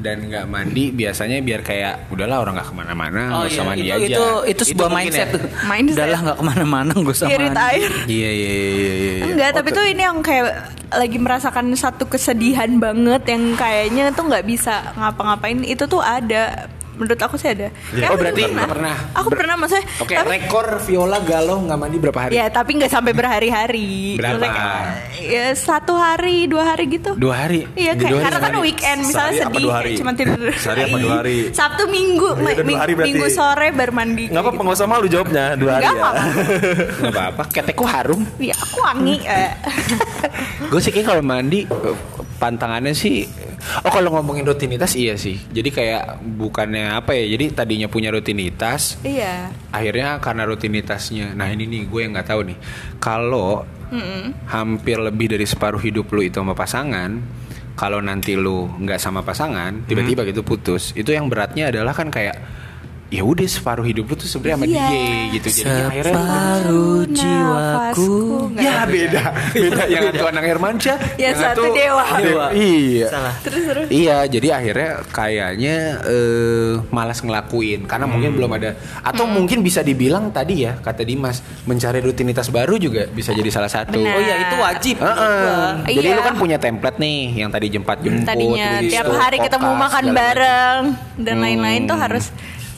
Speaker 1: dan nggak mandi biasanya biar kayak udahlah orang nggak kemana-mana nggak usah mandi
Speaker 4: Oh, iya, itu,
Speaker 1: aja.
Speaker 4: itu itu sebuah
Speaker 1: mungkin
Speaker 4: mindset
Speaker 1: ya.
Speaker 4: tuh.
Speaker 3: Mindset.
Speaker 4: Udahlah nggak kemana-mana gue sama.
Speaker 3: Irit air.
Speaker 1: Iya iya iya iya. iya.
Speaker 3: Enggak, tapi tuh ini yang kayak lagi merasakan satu kesedihan banget yang kayaknya tuh nggak bisa ngapa-ngapain itu tuh ada. Menurut aku sih ada.
Speaker 1: Oh,
Speaker 3: Kayak aku
Speaker 1: berarti
Speaker 3: dulu
Speaker 1: pernah.
Speaker 3: Aku
Speaker 1: Ber-
Speaker 3: pernah maksudnya.
Speaker 1: Oke,
Speaker 3: tapi,
Speaker 1: rekor Viola galau nggak mandi berapa hari?
Speaker 3: ya tapi nggak sampai berhari-hari.
Speaker 1: Berapa?
Speaker 3: Maksudnya kayak, Ya satu hari, dua hari gitu.
Speaker 1: Dua hari.
Speaker 3: Iya
Speaker 1: Dua
Speaker 3: kayak
Speaker 1: hari
Speaker 3: karena kan
Speaker 1: sehari.
Speaker 3: weekend misalnya
Speaker 2: Sehari apa
Speaker 3: sedih
Speaker 2: dua
Speaker 3: kayak
Speaker 2: hari?
Speaker 3: cuma tidur
Speaker 2: Sehari apa dua hari?
Speaker 3: Sabtu minggu
Speaker 2: Iya, udah dua
Speaker 3: ming-
Speaker 2: hari berarti.
Speaker 3: minggu sore baru mandi.
Speaker 2: Nggak apa-apa, nggak usah malu jawabnya dua hari
Speaker 3: Nggak
Speaker 2: ya.
Speaker 3: apa-apa.
Speaker 1: Nggak apa-apa. Ketekku harum.
Speaker 3: Iya aku wangi. eh.
Speaker 1: Gue sih kayak kalau mandi eh, pantangannya sih Oh kalau ngomongin rutinitas iya sih Jadi kayak bukannya apa ya Jadi tadinya punya rutinitas
Speaker 3: Iya.
Speaker 1: Akhirnya karena rutinitasnya Nah ini nih gue yang gak tahu nih Kalau hampir lebih dari separuh hidup lu itu sama pasangan Kalau nanti lu nggak sama pasangan Tiba-tiba gitu putus Itu yang beratnya adalah kan kayak ya udah separuh hidup lu tuh sebenarnya sama
Speaker 3: Iya.
Speaker 1: dia gitu jadi akhirnya lu-
Speaker 4: Separuh jiwaku.
Speaker 3: Nafasku nggak
Speaker 1: Ya beda, beda yang satu anak Hermansyah,
Speaker 3: Ya,
Speaker 1: yang
Speaker 3: satu
Speaker 1: satu
Speaker 3: dewa.
Speaker 1: dewa. Iya.
Speaker 4: Salah.
Speaker 3: Terus terus.
Speaker 1: Iya, jadi akhirnya kayaknya eh, malas ngelakuin karena mungkin belum ada atau
Speaker 3: Hmm.
Speaker 1: mungkin bisa dibilang tadi ya kata Dimas mencari rutinitas baru juga bisa jadi salah satu.
Speaker 3: Benar.
Speaker 4: Oh iya itu wajib.
Speaker 1: Heeh. Jadi
Speaker 3: Iya.
Speaker 1: lu kan punya template nih yang tadi jempat jemput.
Speaker 3: Tadinya
Speaker 1: terus
Speaker 3: tiap
Speaker 1: itu
Speaker 3: hari ketemu
Speaker 1: podcast,
Speaker 3: makan
Speaker 1: segala macam.
Speaker 3: bareng dan lain-lain tuh
Speaker 1: Hmm.
Speaker 3: harus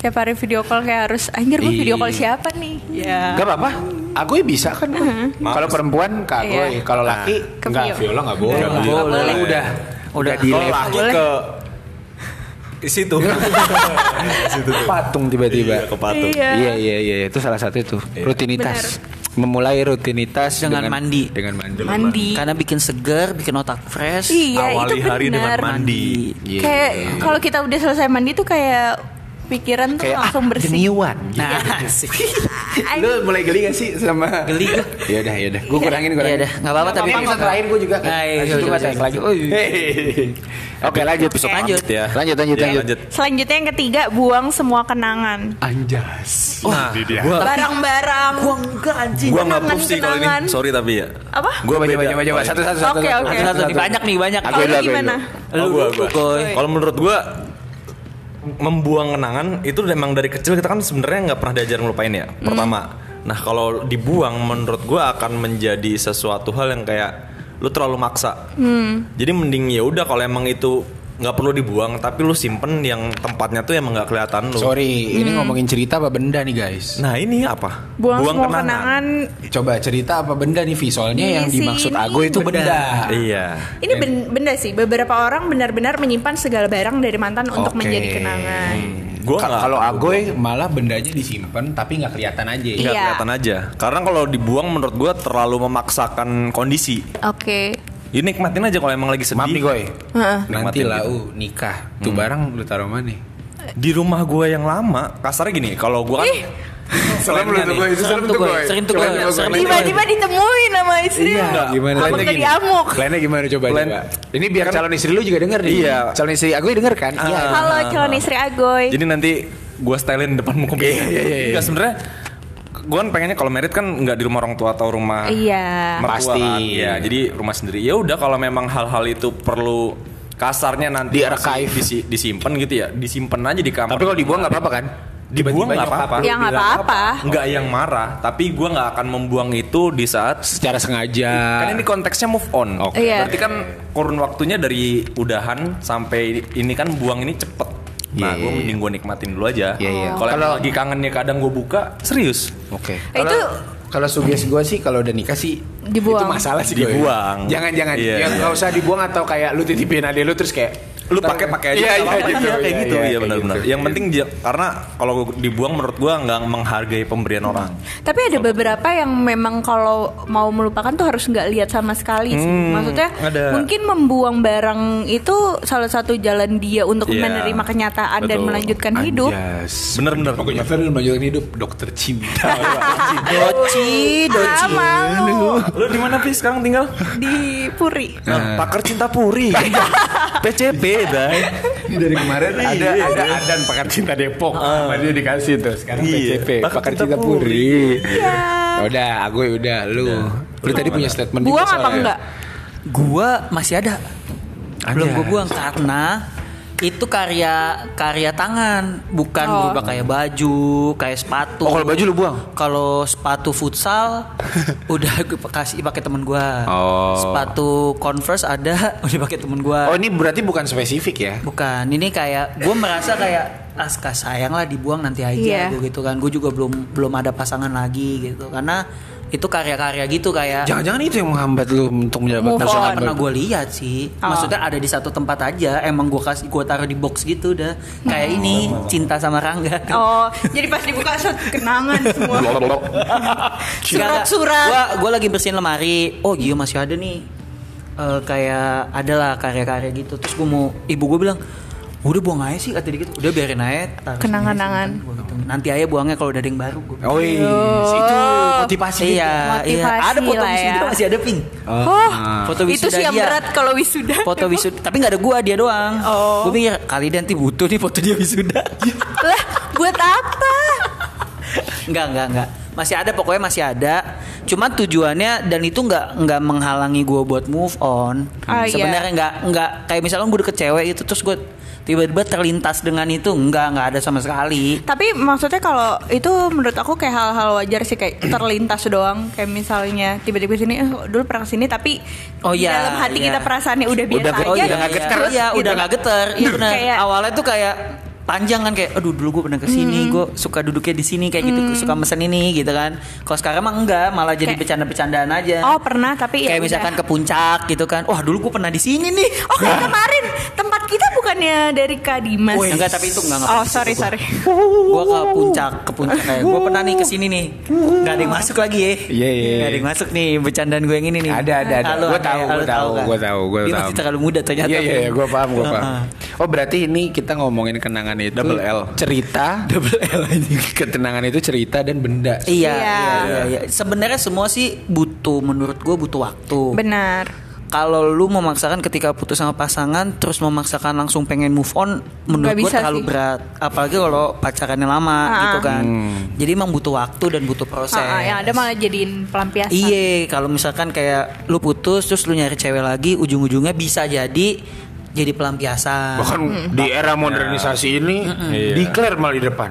Speaker 3: tiap hari video call kayak harus anjir gue video call
Speaker 1: Ih.
Speaker 3: siapa nih? Ya.
Speaker 1: Gak apa-apa. Aku bisa kan. Kalau perempuan Kak
Speaker 3: Mm-hmm. Iya.
Speaker 1: Agoy, kalau laki
Speaker 3: Ke
Speaker 1: enggak
Speaker 3: Vio.
Speaker 1: Viola enggak boleh.
Speaker 4: Nggak
Speaker 1: Viola
Speaker 4: boleh.
Speaker 1: Udah. Udah
Speaker 4: Udah.
Speaker 1: di
Speaker 2: Kalau
Speaker 1: level
Speaker 2: lagi
Speaker 3: Boleh.
Speaker 2: ke ke situ. Ke situ tuh.
Speaker 1: patung
Speaker 2: Iya,
Speaker 1: tiba-tiba.
Speaker 2: ke patung.
Speaker 3: Iya.
Speaker 1: Gitu Iya iya iya itu salah satu itu rutinitas. Memulai rutinitas
Speaker 4: Dengan mandi.
Speaker 1: Dengan mandi.
Speaker 3: Mandi.
Speaker 4: Karena bikin segar, bikin otak fresh.
Speaker 3: Iya
Speaker 2: Awali
Speaker 3: itu
Speaker 2: hari dengan
Speaker 3: benar.
Speaker 2: mandi.
Speaker 1: Iya.
Speaker 3: Kayak kalau kita udah selesai mandi tuh kayak pikiran tuh
Speaker 1: Kayak ah,
Speaker 3: langsung bersih. Iya.
Speaker 1: geniuan.
Speaker 4: Nah, asik.
Speaker 1: Lu mulai geli gak sih sama
Speaker 4: Geli gua.
Speaker 1: Ya udah ya udah. Gua kurangin kurangin.
Speaker 4: Iya dah, nggak apa-apa, tapi-
Speaker 1: episode terakhir gua juga.
Speaker 4: Nah,
Speaker 1: Habis
Speaker 4: iya,
Speaker 1: itu
Speaker 4: iya,
Speaker 1: gua
Speaker 4: iya,
Speaker 1: tag
Speaker 4: iya.
Speaker 1: lagi.
Speaker 4: Oh, iya.
Speaker 1: Oke lanjut episode
Speaker 4: Lanjut.
Speaker 2: Ya.
Speaker 1: Lanjut lanjut
Speaker 2: Ya,
Speaker 1: lanjut.
Speaker 3: Selanjutnya yang ketiga buang semua kenangan.
Speaker 1: Ah, Anjas.
Speaker 2: Nah, gua
Speaker 3: Barang-barang.
Speaker 4: Gua enggak anjing.
Speaker 2: gua nggak push sih kalau ini.
Speaker 3: Kenangan-kenangan.
Speaker 2: Sorry tapi ya.
Speaker 3: Apa?
Speaker 1: Gua baca
Speaker 2: beda.
Speaker 1: baca baca baca. satu satu satu. satu,
Speaker 3: Oke,
Speaker 1: satu,
Speaker 3: oke.
Speaker 4: Satu-satu
Speaker 1: satu.
Speaker 4: banyak nih, banyak.
Speaker 1: Aku
Speaker 3: Kalau
Speaker 1: dulu, aku
Speaker 3: gimana?
Speaker 1: dulu.
Speaker 2: Oh,
Speaker 4: Lu
Speaker 2: gua, gua.
Speaker 4: Goy.
Speaker 2: Kalau menurut gua membuang kenangan itu memang dari kecil kita kan sebenarnya nggak pernah diajar ngelupain ya. Pertama. Nah, kalau dibuang menurut gua akan menjadi sesuatu hal yang kayak lu terlalu maksa. Jadi mending ya udah kalau emang itu nggak perlu dibuang tapi lu simpen yang tempatnya tuh emang nggak kelihatan lu.
Speaker 1: Sorry, ini
Speaker 3: Hmm.
Speaker 1: ngomongin cerita apa benda nih guys?
Speaker 2: Nah, ini apa?
Speaker 3: Buang, semua kenangan.
Speaker 1: Coba cerita apa benda nih visualnya
Speaker 3: Di
Speaker 1: yang dimaksud
Speaker 3: sini
Speaker 1: Ago itu benda.
Speaker 2: Iya.
Speaker 3: Ini ben- benda sih. Beberapa orang benar-benar menyimpan segala barang dari mantan
Speaker 1: Oke.
Speaker 3: untuk
Speaker 1: Hmm.
Speaker 3: menjadi kenangan.
Speaker 2: Gua
Speaker 1: Ka-
Speaker 2: nggak-
Speaker 1: kalau Agoy malah bendanya disimpan tapi nggak kelihatan aja.
Speaker 3: Iya.
Speaker 2: nggak kelihatan aja. Karena kalau dibuang menurut gua terlalu memaksakan kondisi.
Speaker 3: Oke.
Speaker 2: Ini nikmatin aja kalau emang lagi sedih.
Speaker 1: Maaf nih Goy. gitu. Hmm.
Speaker 3: Heeh.
Speaker 1: Nanti
Speaker 2: Nikmatin
Speaker 1: lau nikah tuh barang lu taruh mana?
Speaker 2: Di rumah gua yang lama, kasarnya gini, kalau gua kan
Speaker 3: eh.
Speaker 1: Serem lu tuh Goy, itu serem
Speaker 4: tuh, Goy. Serem tuh, Goy. Serem tuh, Goy.
Speaker 3: Tiba-tiba ditemuin sama istri.
Speaker 1: Iya,
Speaker 3: lu.
Speaker 1: gimana?
Speaker 3: Apa
Speaker 1: Lainnya
Speaker 3: nggak
Speaker 1: gini.
Speaker 3: diamuk?
Speaker 1: Lainnya gimana coba
Speaker 2: Lain-
Speaker 1: coba? Ini biar calon istri lu juga denger nih.
Speaker 2: Iya.
Speaker 1: Calon istri Agoy denger kan? Iya.
Speaker 3: Halo calon istri Agoy.
Speaker 2: jadi nanti gua stylein depan muka
Speaker 1: Iya, iya, iya, iya.
Speaker 2: Enggak sebenarnya gua kan pengennya kalau merit kan nggak di rumah orang tua atau rumah
Speaker 3: Iya.
Speaker 2: mertua
Speaker 1: Pasti.
Speaker 2: kan. Iya, jadi rumah sendiri. Ya udah kalau memang hal-hal itu perlu kasarnya nanti
Speaker 1: Di archive.
Speaker 2: masih disi- disimpan gitu ya, disimpan aja di kamar.
Speaker 1: Tapi kalau dibuang nggak apa-apa kan?
Speaker 2: dibuang
Speaker 1: Tiba-tiba
Speaker 2: nggak apa-apa.
Speaker 1: nyokap lu
Speaker 3: Ya nggak
Speaker 1: bilang,
Speaker 3: apa-apa.
Speaker 2: Nggak yang marah, tapi gua nggak akan membuang itu di saat
Speaker 1: Secara sengaja.
Speaker 2: Kan ini konteksnya move on.
Speaker 1: Ah. Oke.
Speaker 3: Iya.
Speaker 2: Berarti kan kurun waktunya dari udahan sampai ini kan buang ini cepet. Nah,
Speaker 1: Iya,
Speaker 2: gue
Speaker 1: iya,
Speaker 2: mending gue nikmatin dulu aja.
Speaker 1: Iya, iya.
Speaker 2: Kalau
Speaker 1: Kalau-
Speaker 2: emang lagi kangennya kadang gue buka, serius.
Speaker 1: Oke.
Speaker 3: Eh,
Speaker 1: Kalau-
Speaker 3: itu-
Speaker 1: kalau sugesti gue sih kalau udah nikah sih Itu
Speaker 3: Dibuang.
Speaker 1: masalah sih Ya, gue.
Speaker 2: Dibuang.
Speaker 1: Jangan jangan
Speaker 2: Iya,
Speaker 1: yang
Speaker 2: iya.
Speaker 1: nggak usah dibuang atau kayak lu titipin adik lu terus kayak
Speaker 2: lu pakai pakai aja
Speaker 1: Iya,
Speaker 2: nggak apa-apa.
Speaker 1: iya, iya,
Speaker 2: kayak
Speaker 1: iya,
Speaker 2: gitu
Speaker 1: iya,
Speaker 2: iya
Speaker 1: kayak
Speaker 2: benar-benar
Speaker 1: gitu.
Speaker 2: yang penting dia- karena kalau dibuang menurut gua nggak menghargai pemberian
Speaker 1: Hmm.
Speaker 2: orang
Speaker 3: Tapi ada beberapa yang memang kalau mau melupakan tuh harus nggak lihat sama sekali sih.
Speaker 2: Hmm,
Speaker 3: Maksudnya
Speaker 2: ada.
Speaker 3: mungkin membuang barang itu salah satu jalan dia untuk
Speaker 2: Iya.
Speaker 3: menerima kenyataan dan
Speaker 2: Betul.
Speaker 3: melanjutkan Kan hidup.
Speaker 1: Anjas.
Speaker 2: Bener, bener.
Speaker 1: Pokoknya Fer dan melanjutkan hidup dokter cinta.
Speaker 4: Doci,
Speaker 3: Ah,
Speaker 4: doci.
Speaker 3: mau
Speaker 2: lu di mana sih sekarang tinggal
Speaker 3: di Puri.
Speaker 2: Nah, pakar cinta puri PCP dah
Speaker 1: Ini dari kemarin ada ada Adan pakar cinta Depok. Sama dia dikasih tuh sekarang
Speaker 2: Ah. Iya.
Speaker 1: PCP
Speaker 2: Pakar
Speaker 1: pakar
Speaker 2: Cinta
Speaker 1: cinta Puri.
Speaker 3: Iya.
Speaker 1: Ya Udah, aku udah lu. Lu tadi punya statement juga
Speaker 3: Buang apa
Speaker 1: soalnya.
Speaker 3: enggak?
Speaker 4: Gua masih ada. Belum
Speaker 1: Anjas.
Speaker 4: gua buang karena itu karya karya tangan, bukan
Speaker 3: Oh.
Speaker 4: berubah kayak baju, kayak sepatu.
Speaker 1: Oh, kalau baju lu buang?
Speaker 4: Kalau sepatu futsal udah gue kasih pakai temen gua.
Speaker 1: Oh.
Speaker 4: Sepatu Converse ada udah pakai temen
Speaker 1: Oh,
Speaker 4: gua.
Speaker 1: ini berarti bukan spesifik ya.
Speaker 4: Bukan, ini kayak gue merasa kayak aska sayang lah dibuang nanti aja
Speaker 3: Iya.
Speaker 4: gua gitu kan. Gue juga belum belum ada pasangan lagi gitu karena itu karya-karya gitu kayak
Speaker 1: Jangan-jangan itu yang menghambat lu untuk menjabat
Speaker 4: Tapi
Speaker 3: Move
Speaker 4: nggak
Speaker 1: pasangan
Speaker 3: on.
Speaker 4: Nah, pernah
Speaker 1: baru.
Speaker 4: gue lihat sih.
Speaker 3: Oh.
Speaker 4: Maksudnya ada di satu tempat aja. Emang gue kasih gue taruh di box gitu udah. Kayak ini cinta sama Rangga.
Speaker 3: Hmm. Oh, jadi pas dibuka set kenangan semua. Surat-surat.
Speaker 4: Gue gue lagi bersihin lemari. Oh iya masih ada nih. Eh, kayak adalah karya-karya gitu. Terus gue mau ibu gue bilang udah buang aja sih kata dia gitu. Udah biarin aja. taruh sini
Speaker 3: Kenang-kenangan.
Speaker 4: aja." Gua gitu. Nanti aja buangnya kalau udah ada yang baru. Gua bilang.
Speaker 1: Oh, itu motivasi.
Speaker 4: iya, iya.
Speaker 3: Motivasi
Speaker 4: Ada foto
Speaker 3: lah ya.
Speaker 4: wisuda masih ada pink.
Speaker 3: Oh,
Speaker 1: Ah.
Speaker 4: Foto
Speaker 3: itu
Speaker 4: wisuda
Speaker 3: sih yang
Speaker 4: dia.
Speaker 3: berat kalau wisuda.
Speaker 4: Foto wisuda, tapi nggak ada gua dia doang.
Speaker 3: Oh.
Speaker 4: Gue pikir kali dia nanti butuh nih foto dia wisuda.
Speaker 3: lah, buat apa?
Speaker 4: Enggak, enggak, enggak. Masih ada pokoknya masih ada. Cuma tujuannya dan itu enggak enggak menghalangi gue buat move on.
Speaker 3: Ah, iya.
Speaker 4: Sebenarnya enggak enggak kayak misalnya gue deket cewek itu terus gue tiba-tiba terlintas dengan itu enggak enggak ada sama sekali.
Speaker 3: Tapi maksudnya kalau itu menurut aku kayak hal-hal wajar sih kayak terlintas doang kayak misalnya tiba-tiba sini eh, dulu pernah kesini tapi
Speaker 4: Oh,
Speaker 3: di
Speaker 4: iya,
Speaker 3: dalam hati
Speaker 4: iya.
Speaker 3: kita perasaannya udah biasa
Speaker 1: Udah-
Speaker 3: aja.
Speaker 1: oh, iya,
Speaker 4: iya,
Speaker 1: udah nggak
Speaker 4: iya.
Speaker 1: geter.
Speaker 4: Iya,
Speaker 3: Gitu.
Speaker 4: udah enggak geter. Iya benar.
Speaker 3: Kayak-
Speaker 4: Awalnya tuh kayak panjang kan kayak aduh dulu gue pernah kesini gue suka duduknya di sini kayak gitu gua suka mesen ini gitu kan kalau sekarang mah enggak malah jadi
Speaker 3: Kayak-
Speaker 4: bercanda-bercandaan aja
Speaker 3: Oh, pernah tapi
Speaker 4: kayak
Speaker 3: ya udah.
Speaker 4: misalkan ke puncak gitu kan wah dulu gue pernah di sini nih
Speaker 3: Oh, kayak kemarin tempat kita bukannya dari Kadimas.
Speaker 4: Wih. Enggak, tapi itu enggak, enggak
Speaker 3: Oh,
Speaker 4: pernah
Speaker 3: sorry, sorry.
Speaker 4: Gua ke puncak ke puncak kayak gue pernah nih kesini nih nggak ada yang masuk lagi ya
Speaker 1: Iya, iya, iya.
Speaker 4: Nggak ada yang masuk nih bercandaan gue yang ini nih
Speaker 1: Ada, ada, ada.
Speaker 4: Halo,
Speaker 1: Gua
Speaker 4: ada
Speaker 1: tahu,
Speaker 4: ya?
Speaker 1: gua
Speaker 4: Halo,
Speaker 1: tahu,
Speaker 4: kan?
Speaker 1: gua tahu, gua
Speaker 4: dia
Speaker 1: tahu.
Speaker 4: masih terlalu muda ternyata
Speaker 1: Iya iya iya, gua paham, gua paham.
Speaker 4: Heeh.
Speaker 1: Oh, berarti ini kita ngomongin kenangan itu
Speaker 2: Double L.
Speaker 1: cerita double L Ketenangan itu cerita dan benda.
Speaker 4: Iya,
Speaker 3: Iya.
Speaker 4: iya, iya, iya. Sebenarnya semua sih butuh, menurut gue butuh waktu.
Speaker 3: Benar.
Speaker 4: Kalau lu memaksakan ketika putus sama pasangan, terus memaksakan langsung pengen move on, menurut
Speaker 3: Nggak
Speaker 4: gue
Speaker 3: bisa
Speaker 4: terlalu
Speaker 3: sih.
Speaker 4: berat. Apalagi kalau pacarannya lama,
Speaker 3: Ah.
Speaker 4: gitu kan.
Speaker 1: Hmm.
Speaker 4: Jadi emang butuh waktu dan butuh proses.
Speaker 3: Ah, ah, yang ada malah jadiin pelampiasan.
Speaker 4: Iya, kalau misalkan kayak lu putus terus lu nyari cewek lagi, ujung-ujungnya bisa jadi jadi pelampiasan.
Speaker 1: Bahkan Kan di era modernisasi ini declare malah di depan.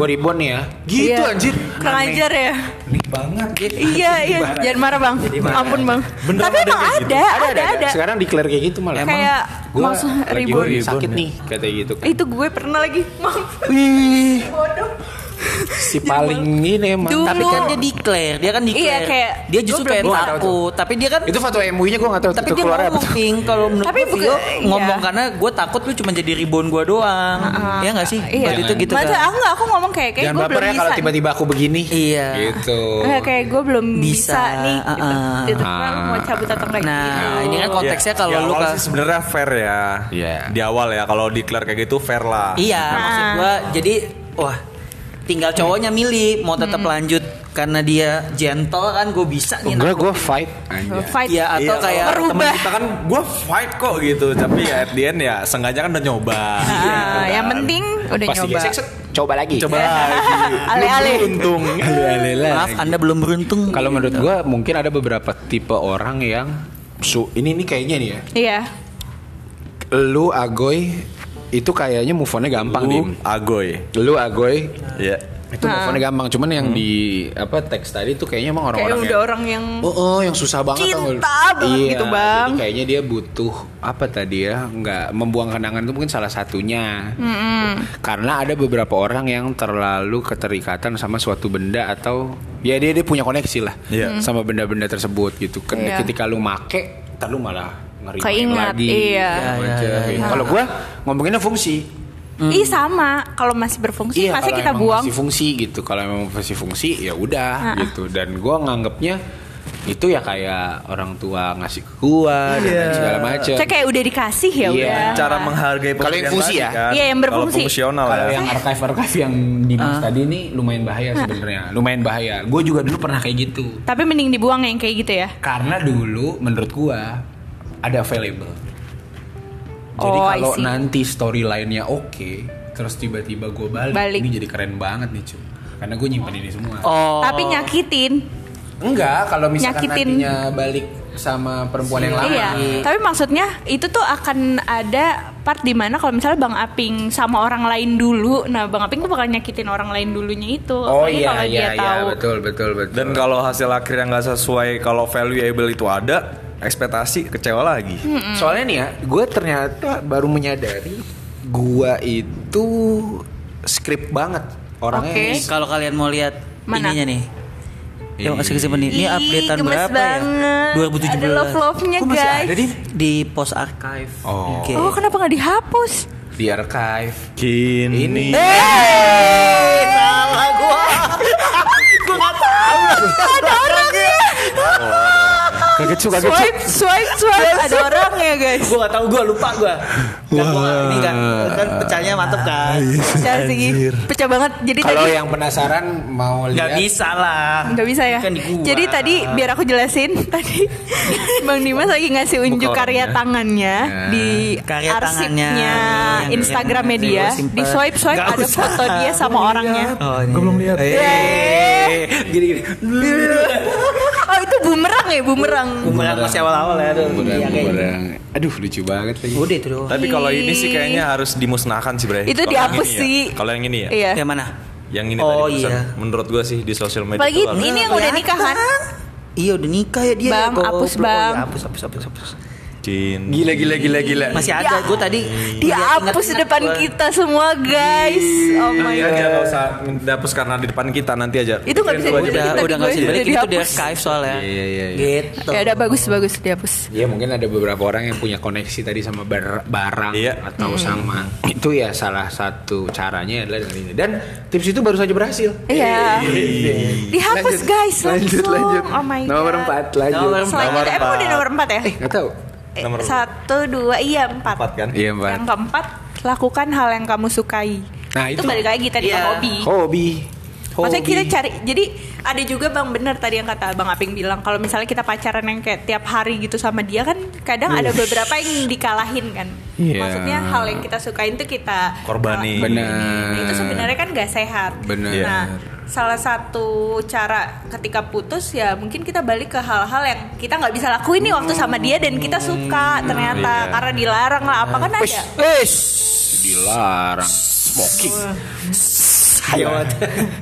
Speaker 1: Gua ribbon ya. Gitu
Speaker 3: Iya.
Speaker 1: anjir.
Speaker 3: Kurang ajar ya.
Speaker 1: Nih banget.
Speaker 3: Iya iya, jangan marah bang. Ampun bang.
Speaker 2: Beneran
Speaker 3: Tapi
Speaker 2: ada
Speaker 3: emang
Speaker 2: kayak
Speaker 3: ada,
Speaker 2: gitu?
Speaker 3: ada, ada,
Speaker 1: Sekarang declare kayak gitu malah.
Speaker 4: Emang
Speaker 3: Kayak
Speaker 1: Gua
Speaker 3: langsung
Speaker 1: lagi
Speaker 3: ribut.
Speaker 1: gua sakit nih kata gitu kan.
Speaker 3: Itu gue pernah lagi. Maaf,
Speaker 1: Wih,
Speaker 3: bodoh.
Speaker 1: si paling ini emang.
Speaker 3: Duh.
Speaker 4: Tapi kan dia declare, dia kan declare.
Speaker 3: Iya, kayak,
Speaker 4: dia justru
Speaker 3: gua
Speaker 4: kayak
Speaker 1: belum tahu
Speaker 4: takut, tapi dia kan
Speaker 1: Itu fatwa MUI-nya gua enggak tahu
Speaker 4: tapi
Speaker 1: tuh
Speaker 4: dia
Speaker 1: keluarnya apa
Speaker 4: ngomong
Speaker 1: tuh.
Speaker 4: Ping, kalau menurut
Speaker 3: Tapi
Speaker 4: tapi
Speaker 3: bukan- iya.
Speaker 4: ngomong karena gue takut lu cuma jadi ribon gue doang ya nggak sih
Speaker 3: Iya.
Speaker 4: Waktu itu gitu
Speaker 3: Maksudnya
Speaker 4: kan
Speaker 3: aku nggak, aku ngomong kayak kayak
Speaker 1: Jangan
Speaker 3: gue
Speaker 1: baper
Speaker 3: belum
Speaker 1: ya
Speaker 3: bisa.
Speaker 1: kalau tiba-tiba aku begini.
Speaker 4: Iya.
Speaker 1: Gitu.
Speaker 3: Nggak, kayak gue belum bisa,
Speaker 4: Bisa,
Speaker 3: nih. Gitu.
Speaker 4: ah, ah.
Speaker 3: Gitu. Kalau mau cabut atau enggak
Speaker 4: nah
Speaker 3: gitu.
Speaker 4: ini kan konteksnya
Speaker 2: Ya,
Speaker 4: kalau
Speaker 2: di
Speaker 4: lu
Speaker 2: awal
Speaker 4: kan
Speaker 2: sih sebenarnya fair ya.
Speaker 1: Iya.
Speaker 2: Di awal ya kalau declare kayak gitu fair lah.
Speaker 4: Iya, maksud gua jadi wah tinggal
Speaker 3: Iya.
Speaker 4: cowoknya milih mau tetap lanjut karena dia gentle kan gue bisa nih.
Speaker 1: Enggak, gua fight. Anjay.
Speaker 3: Fight.
Speaker 4: Iya atau
Speaker 2: kalau
Speaker 4: kayak
Speaker 2: temen
Speaker 3: Merubah.
Speaker 2: kita kan gue fight kok gitu, tapi ya at the end ya sengaja kan udah nyoba.
Speaker 3: Ah,
Speaker 2: gitu kan.
Speaker 3: yang penting udah
Speaker 1: Pasti
Speaker 3: nyoba. Iya.
Speaker 1: gesek, set, coba lagi.
Speaker 2: coba lagi.
Speaker 3: Ale-ale.
Speaker 2: Untung.
Speaker 4: maaf Anda belum beruntung.
Speaker 1: Kalau menurut gua mungkin ada beberapa tipe orang yang su ini ini kayaknya nih ya.
Speaker 3: Iya.
Speaker 1: Lu Agoy itu kayaknya move on-nya gampang, Dim.
Speaker 2: Agoy.
Speaker 1: Lu Agoy
Speaker 2: Iya.
Speaker 1: itu move on-nya gampang, cuman yang di apa teks tadi tuh kayaknya emang
Speaker 3: Kayak
Speaker 1: orang-orang
Speaker 3: udah
Speaker 1: yang-
Speaker 3: orang yang
Speaker 1: Oh, oh, yang susah banget
Speaker 3: Cinta
Speaker 1: tau nggak lu?
Speaker 3: banget
Speaker 1: Iya,
Speaker 3: gitu, Bang.
Speaker 1: jadi kayaknya dia butuh apa tadi ya? Nggak membuang kenangan itu mungkin salah satunya. Karena ada beberapa orang yang terlalu keterikatan sama suatu benda atau ya dia dia punya koneksi lah
Speaker 2: Iya.
Speaker 1: sama benda-benda tersebut gitu. Ken-
Speaker 3: Mm. Iya.
Speaker 1: Ketika lu make, ntar lu malah ngerimain
Speaker 5: Keingat,
Speaker 1: lagi
Speaker 5: iya.
Speaker 1: segala
Speaker 4: Iya,
Speaker 1: macem,
Speaker 4: iya,
Speaker 1: gitu.
Speaker 4: iya.
Speaker 1: kalau gue ngomonginnya fungsi
Speaker 4: hmm.
Speaker 3: Ih sama, kalau masih berfungsi
Speaker 4: Iya,
Speaker 1: Iya,
Speaker 3: masa
Speaker 1: kalau
Speaker 3: kita
Speaker 1: emang
Speaker 3: buang. Ah,
Speaker 1: masih fungsi gitu kalau emang masih fungsi ya udah gitu dan gue nganggapnya itu ya kayak orang tua ngasih ke gua dan lain segala macem
Speaker 3: Saya kayak udah dikasih ya
Speaker 1: Iya.
Speaker 3: udah.
Speaker 2: Cara menghargai
Speaker 1: Kalau yang
Speaker 2: pekerjaan
Speaker 1: fungsi
Speaker 2: tadi
Speaker 1: ya?
Speaker 2: kan.
Speaker 3: Iya, yang
Speaker 2: Kalau
Speaker 3: berfungsi.
Speaker 2: fungsional
Speaker 1: Kalau
Speaker 2: ya.
Speaker 1: yang archive archive yang di Mas
Speaker 3: Ah.
Speaker 1: tadi ini lumayan bahaya sebenarnya, lumayan bahaya. Gue juga dulu pernah kayak gitu.
Speaker 3: Tapi mending dibuang yang kayak gitu ya.
Speaker 1: Karena dulu menurut gua ada available. Jadi
Speaker 3: Oh, I
Speaker 1: kalau
Speaker 3: see.
Speaker 1: nanti storyline-nya oke, terus tiba-tiba gue balik,
Speaker 3: Balik.
Speaker 1: ini jadi keren banget nih cuy. Karena gue nyimpan ini semua.
Speaker 4: Oh.
Speaker 3: Tapi nyakitin.
Speaker 1: Enggak, kalau misalkan
Speaker 3: Nyakitin.
Speaker 1: nantinya balik sama perempuan yang lama.
Speaker 3: Iya. Tapi maksudnya itu tuh akan ada part di mana kalau misalnya Bang Aping sama orang lain dulu, nah Bang Aping tuh bakal nyakitin orang lain dulunya itu.
Speaker 1: Oh
Speaker 3: Apalagi
Speaker 1: iya
Speaker 3: kalau dia
Speaker 1: iya iya
Speaker 3: tahu.
Speaker 1: betul betul betul.
Speaker 2: Dan kalau hasil akhirnya nggak sesuai, kalau valuable itu ada, ekspektasi kecewa lagi.
Speaker 1: Soalnya nih ya, gue ternyata baru menyadari gue itu skrip banget orangnya.
Speaker 3: Oke.
Speaker 1: ini.
Speaker 4: Kalau kalian mau lihat
Speaker 3: Mana?
Speaker 4: ininya nih. Yang kasih kasih menit. Ini
Speaker 3: Ih,
Speaker 4: updatean
Speaker 3: gemes
Speaker 4: berapa
Speaker 3: banget.
Speaker 4: ya? 2017.
Speaker 3: Ada love-love-nya,
Speaker 4: Kok masih
Speaker 3: guys?
Speaker 4: ada di di post archive.
Speaker 1: Oh.
Speaker 4: Oke.
Speaker 3: Oh kenapa nggak dihapus?
Speaker 1: Di archive.
Speaker 2: Kini.
Speaker 1: Ini.
Speaker 4: Eh, salah gua. gua enggak tahu. Ada orangnya.
Speaker 1: Kaget suka
Speaker 3: ya. Swipe swipe swipe ada orang ya guys.
Speaker 4: Gua enggak tahu, gua lupa gua. Enggak gua ini kan kan pecahnya mantep kan.
Speaker 3: Dari segi pecah banget. Jadi
Speaker 1: Kalau
Speaker 3: tadi
Speaker 1: yang penasaran mau lihat
Speaker 4: Enggak bisa lah.
Speaker 3: Gak bisa ya.
Speaker 4: Kan di gua.
Speaker 3: Jadi tadi biar aku jelasin tadi Bang Dimas lagi ngasih unjuk
Speaker 2: Buka
Speaker 3: karya
Speaker 2: orangnya.
Speaker 3: tangannya di
Speaker 4: Nah, Karya
Speaker 3: arsipnya
Speaker 4: tangannya, yang-
Speaker 3: Instagram
Speaker 4: yang- yang
Speaker 3: media.
Speaker 4: gua simpen.
Speaker 3: Di swipe swipe
Speaker 4: Nggak
Speaker 3: ada
Speaker 4: usah.
Speaker 3: foto dia sama orangnya. Iya.
Speaker 4: Oh, ini. belum lihat.
Speaker 1: gini gini.
Speaker 3: Oh itu bumerang ya bumerang.
Speaker 4: Bumerang masih awal-awal ya. aduh. Iya, kayak gitu.
Speaker 1: Bumerang. Aduh lucu banget lagi.
Speaker 4: Udah itu doang.
Speaker 2: Tapi kalau ini sih kayaknya harus dimusnahkan sih Bre.
Speaker 3: Oh, iya. Itu
Speaker 2: Kalau yang
Speaker 3: dihapus
Speaker 2: ini ya.
Speaker 3: sih.
Speaker 2: Kalau yang ini ya.
Speaker 3: Iya.
Speaker 4: Yang mana?
Speaker 2: Yang ini
Speaker 4: Oh,
Speaker 2: tadi barusan.
Speaker 4: iya.
Speaker 2: Menurut gua sih di sosial media.
Speaker 3: Apalagi
Speaker 2: itu harus-
Speaker 3: ini yang udah nikah kan?
Speaker 4: Iya udah nikah ya dia ya,
Speaker 3: Bang, hapus,
Speaker 4: goblok. Oh,
Speaker 3: Bang.
Speaker 4: iya, hapus hapus hapus hapus.
Speaker 2: Cin.
Speaker 1: Gila gila gila gila.
Speaker 4: Masih ada gue tadi
Speaker 3: Dihapus
Speaker 4: ingat-ingat
Speaker 3: depan
Speaker 4: Iya, gua. iya,
Speaker 3: kita semua guys. Oh my
Speaker 2: Nanti aja
Speaker 3: god.
Speaker 2: iya, nggak usah dihapus karena di depan kita nanti aja.
Speaker 3: Itu nggak bisa
Speaker 2: Gua aja.
Speaker 4: Udah
Speaker 3: Jadi tadi
Speaker 4: Iya, udah enggak
Speaker 3: gue
Speaker 4: usah dibalik
Speaker 3: udah
Speaker 4: itu di
Speaker 3: dihapus.
Speaker 4: archive soalnya.
Speaker 1: Iya, iya, iya.
Speaker 4: Gitu.
Speaker 3: Ya udah bagus bagus dihapus.
Speaker 1: Ya mungkin ada beberapa orang yang punya koneksi tadi sama bar- barang
Speaker 2: Iya.
Speaker 3: Hmm.
Speaker 1: atau sama itu ya salah satu caranya adalah dengan ini dan tips itu baru saja berhasil.
Speaker 3: Iya.
Speaker 1: Lanjut.
Speaker 3: Dihapus guys
Speaker 1: Lanjut
Speaker 3: langsung.
Speaker 1: lanjut.
Speaker 3: Oh my god.
Speaker 1: Nomor 4 lanjut.
Speaker 4: Nomor empat.
Speaker 3: Selain
Speaker 2: Nomor
Speaker 3: itu, emang
Speaker 2: empat.
Speaker 3: udah nomor 4 ya?
Speaker 1: Eh nggak tahu.
Speaker 3: Eh,
Speaker 2: nomor-
Speaker 3: Satu, dua, iya empat.
Speaker 2: Empat kan?
Speaker 1: Iya Mbak.
Speaker 3: Yang keempat, lakukan hal yang kamu sukai.
Speaker 1: Nah,
Speaker 3: itu,
Speaker 1: itu-
Speaker 3: balik lagi tadi ke
Speaker 4: Iya.
Speaker 3: hobi.
Speaker 1: Hobi. Hobi.
Speaker 3: Maksudnya kita cari, jadi ada juga bang bener tadi yang kata bang Aping bilang kalau misalnya kita pacaran yang kayak tiap hari gitu sama dia kan kadang ada beberapa yang dikalahin kan.
Speaker 1: Iya.
Speaker 3: Maksudnya hal yang kita sukain tuh kita
Speaker 2: Korbani.
Speaker 1: Benar.
Speaker 3: itu sebenarnya kan gak sehat.
Speaker 1: Benar.
Speaker 3: Nah, salah satu cara ketika putus ya mungkin kita balik ke hal-hal yang kita nggak bisa lakuin nih waktu sama dia dan kita suka ternyata
Speaker 2: Iya.
Speaker 3: karena dilarang lah apa kan ada.
Speaker 4: Wes.
Speaker 1: dilarang smoking.
Speaker 4: Ayo.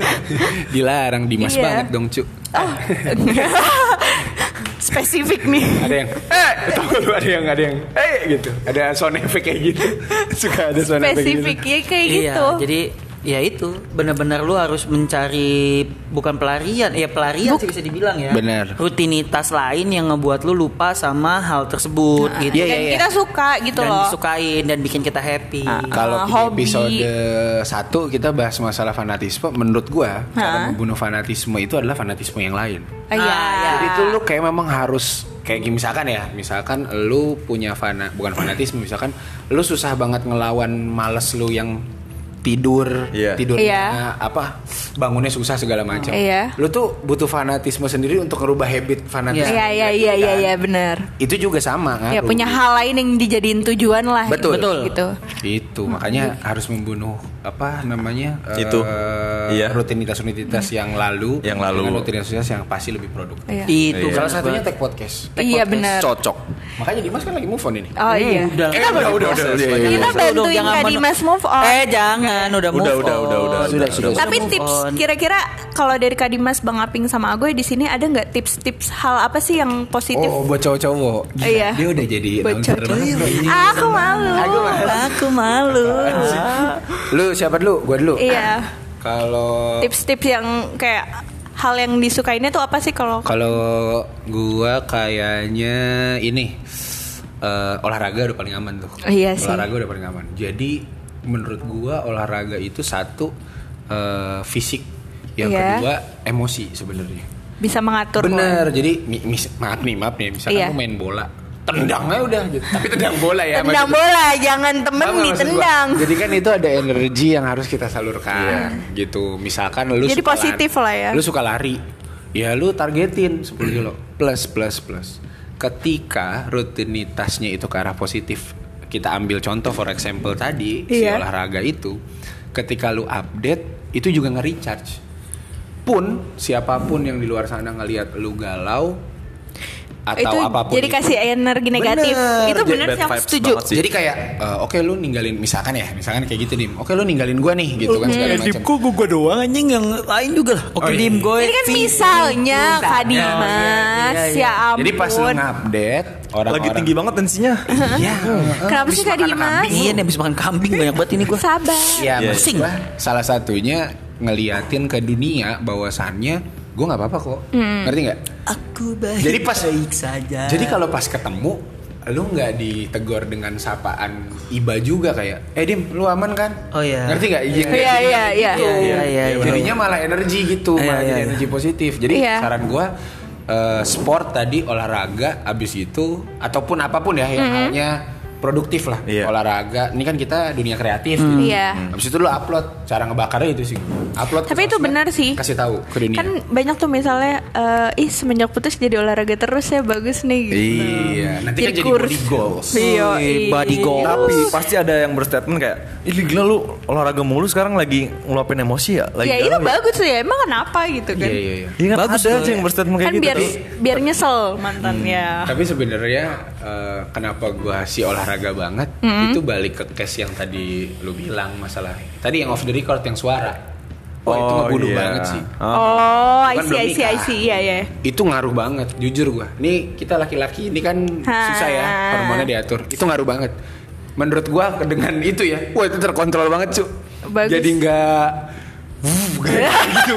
Speaker 1: dilarang Dimas
Speaker 3: Iya.
Speaker 1: banget dong, Cuk.
Speaker 3: Oh. Spesifik nih.
Speaker 1: Ada yang eh tahu lu ada yang ada yang eh gitu. Ada sound effect kayak gitu. Suka ada sound effect gitu.
Speaker 3: Spesifik ya kayak
Speaker 4: Iya,
Speaker 3: gitu.
Speaker 4: jadi ya itu benar-benar lu harus mencari bukan pelarian, ya pelarian sih bisa dibilang ya.
Speaker 1: Benar.
Speaker 4: Rutinitas lain yang ngebuat lu lupa sama hal tersebut gitu.
Speaker 3: Nah, dan kita suka gitu
Speaker 4: dan
Speaker 3: loh.
Speaker 4: disukain dan bikin kita happy.
Speaker 1: Kalau di
Speaker 3: hobi.
Speaker 1: episode 1 kita bahas masalah fanatisme menurut gua cara membunuh fanatisme itu adalah fanatisme yang lain.
Speaker 3: Ah, Iya.
Speaker 1: Jadi itu lu kayak memang harus kayak gini, misalkan ya, misalkan lu punya fana bukan fanatisme misalkan lu susah banget ngelawan males lu yang tidur
Speaker 2: Iya.
Speaker 1: tidurnya
Speaker 3: Iya.
Speaker 1: apa bangunnya susah segala macam.
Speaker 3: Iya.
Speaker 1: Lu tuh butuh fanatisme sendiri untuk ngerubah habit fanatisme.
Speaker 3: Iya iya
Speaker 1: berarti,
Speaker 3: iya iya
Speaker 1: kan?
Speaker 3: iya benar.
Speaker 1: Itu juga sama kan.
Speaker 3: Ya punya hal lain yang dijadiin tujuan lah.
Speaker 1: Betul.
Speaker 4: Betul.
Speaker 3: Gitu. Iya.
Speaker 1: Itu makanya harus membunuh apa namanya eh,
Speaker 2: Itu. Iya.
Speaker 1: rutinitas-rutinitas yang lalu
Speaker 2: Yang lalu.
Speaker 1: dengan rutinitas-rutinitas yang pasti lebih produktif.
Speaker 3: Iya.
Speaker 4: Itu
Speaker 2: Iya.
Speaker 1: Salah
Speaker 4: kan
Speaker 1: satunya
Speaker 4: gua-
Speaker 1: tech podcast.
Speaker 4: Tech
Speaker 3: Iya
Speaker 4: podcast.
Speaker 3: benar.
Speaker 1: Cocok. Makanya Dimas kan lagi move on ini. Eh,
Speaker 3: Oh iya.
Speaker 4: udah.
Speaker 1: Kita baru proses. Iya, iya,
Speaker 3: Kita
Speaker 1: iya.
Speaker 4: Udah,
Speaker 3: bantuin
Speaker 4: jangan
Speaker 3: Kak
Speaker 4: men-
Speaker 3: Dimas move on.
Speaker 4: Eh jangan, udah move
Speaker 2: Udah, udah,
Speaker 4: on.
Speaker 2: udah, udah,
Speaker 1: Sudah, sudah.
Speaker 3: Tapi
Speaker 4: move
Speaker 3: tips
Speaker 4: on.
Speaker 3: kira-kira kalau dari Kak Dimas, Bang Aping sama Agoy di sini ada nggak tips-tips hal apa sih yang positif?
Speaker 1: Oh, buat cowok-cowok. Gila,
Speaker 3: Iya.
Speaker 1: Dia udah jadi
Speaker 3: Buat
Speaker 1: announcer
Speaker 3: cowok.
Speaker 1: banget. Iya,
Speaker 3: Ah, aku malu.
Speaker 4: Aku malu.
Speaker 1: Lu siapa dulu? Gua dulu.
Speaker 3: Iya.
Speaker 1: Kalau
Speaker 3: Tips-tips yang kayak hal yang disukainnya tuh apa sih kalau
Speaker 1: Kalau gua kayaknya ini eh, olahraga udah paling aman tuh.
Speaker 3: Iya sih.
Speaker 1: Olahraga udah paling aman. Jadi menurut gua olahraga itu satu eh, fisik, yang
Speaker 3: Iya.
Speaker 1: kedua emosi sebenarnya.
Speaker 3: Bisa mengatur.
Speaker 1: Bener, jadi mi- mis- maaf nih, maaf nih, misalkan
Speaker 3: Iya.
Speaker 1: lu main bola, tendangnya udah gitu. Tapi tendang bola ya.
Speaker 3: Tendang
Speaker 1: maksud-
Speaker 3: bola, jangan
Speaker 1: Paham
Speaker 3: temen
Speaker 1: nggak maksud gua?
Speaker 3: ditendang.
Speaker 1: Jadi kan itu ada energi yang harus kita salurkan gitu. Misalkan lu suka
Speaker 3: Jadi
Speaker 1: lari-
Speaker 3: positif lah ya.
Speaker 1: Lu suka lari. Ya lu targetin 10 kilo plus plus plus. Ketika rutinitasnya itu ke arah positif. Kita ambil contoh for example tadi si
Speaker 3: Iya.
Speaker 1: olahraga itu ketika lu update itu juga nge-recharge. Pun siapapun yang di luar sana ngelihat lu galau atau
Speaker 3: itu
Speaker 1: apapun
Speaker 3: jadi
Speaker 1: itu.
Speaker 3: kasih energi negatif.
Speaker 1: Bener,
Speaker 3: Itu
Speaker 1: jadi
Speaker 3: bener
Speaker 2: bad
Speaker 3: sih aku
Speaker 2: vibes
Speaker 3: setuju.
Speaker 2: banget sih.
Speaker 1: jadi kayak eh, oke lu ninggalin misalkan ya, misalkan kayak gitu dim. Oke lu ninggalin gua nih gitu kan
Speaker 2: Iya,
Speaker 1: segala
Speaker 4: Dip,
Speaker 1: macam.
Speaker 4: kok gue gue doang anjing yang lain juga lah. Oke,
Speaker 1: Oh, iya.
Speaker 4: dim gue.
Speaker 3: Ini kan misalnya
Speaker 1: Ya,
Speaker 3: Kak Dimas,
Speaker 4: Iya, iya.
Speaker 3: ya ampun.
Speaker 1: Jadi pas lu update orang
Speaker 2: Lagi tinggi banget tensinya.
Speaker 1: Iya.
Speaker 3: Kenapa sih Kak Dimas?
Speaker 4: Iya, nih abis makan kambing banyak banget ini gue.
Speaker 3: Sabar.
Speaker 1: Iya,
Speaker 2: Iya.
Speaker 1: maksud gua, salah satunya ngeliatin ke dunia bahwasannya gua nggak apa-apa kok.
Speaker 3: Hmm.
Speaker 1: Ngerti nggak?
Speaker 4: Aku baik.
Speaker 1: Jadi pas-
Speaker 4: baik saja.
Speaker 1: Jadi kalau pas ketemu lu nggak ditegur dengan sapaan iba juga kayak, "Eh Dim, lu aman kan?"
Speaker 4: Oh, iya.
Speaker 1: Ngerti nggak? Iya,
Speaker 3: Iya, iya, iya.
Speaker 1: gitu.
Speaker 4: Iya, iya, iya.
Speaker 1: Jadinya malah energi gitu,
Speaker 4: Iya,
Speaker 1: malah
Speaker 4: iya,
Speaker 1: jadi
Speaker 4: iya.
Speaker 1: energi positif. Jadi
Speaker 3: Iya.
Speaker 1: saran gua eh, sport tadi olahraga abis itu ataupun apapun ya yang
Speaker 3: Mm-hmm.
Speaker 1: halnya produktif lah
Speaker 2: Iya.
Speaker 1: olahraga ini kan kita dunia kreatif gitu.
Speaker 3: Iya.
Speaker 1: abis itu lu upload cara ngebakarnya itu sih upload ke
Speaker 3: Tapi itu
Speaker 1: sosmed,
Speaker 3: benar sih.
Speaker 1: kasih tahu ke dunia
Speaker 3: Kan banyak tuh misalnya eh, ih semenjak putus jadi olahraga terus ya bagus nih gitu.
Speaker 1: iya nanti kan jadi
Speaker 3: kurs.
Speaker 1: body goals
Speaker 3: Iya,
Speaker 4: Wih,
Speaker 3: iya.
Speaker 4: body goal.
Speaker 2: Tapi pasti ada yang berstatement kayak, "Ih gila lu olahraga mulu sekarang lagi ngeluapin emosi ya?" Lagi
Speaker 3: Ya itu
Speaker 2: galau
Speaker 3: bagus tuh ya. Emang kenapa gitu kan?
Speaker 1: iya iya iya
Speaker 2: Iya kan
Speaker 4: Bagus
Speaker 2: ada
Speaker 4: loh,
Speaker 2: aja yang
Speaker 4: ya.
Speaker 2: berstatement kayak
Speaker 3: Kan
Speaker 2: gitu.
Speaker 3: biar
Speaker 2: tuh.
Speaker 3: biar nyesel mantannya.
Speaker 1: Tapi sebenarnya eh, kenapa gua si olahraga banget itu balik ke case yang tadi lu bilang masalah. Tadi yang off the record yang suara. Wah, itu ngebunuh
Speaker 2: iya.
Speaker 1: banget sih.
Speaker 2: Ah.
Speaker 3: Oh,
Speaker 1: Itu
Speaker 3: I
Speaker 1: Hmm. kan
Speaker 3: see,
Speaker 1: belum
Speaker 3: I see, I
Speaker 1: nikah.
Speaker 3: see. Iya, iya.
Speaker 1: Itu ngaruh banget, jujur gua. Nih kita laki-laki ini kan
Speaker 3: Ha.
Speaker 1: susah ya hormonnya diatur. Itu ngaruh banget. Menurut gua dengan itu ya, wah itu terkontrol banget cu.
Speaker 3: Bagus.
Speaker 1: Jadi nggak Wuh, kayak gitu.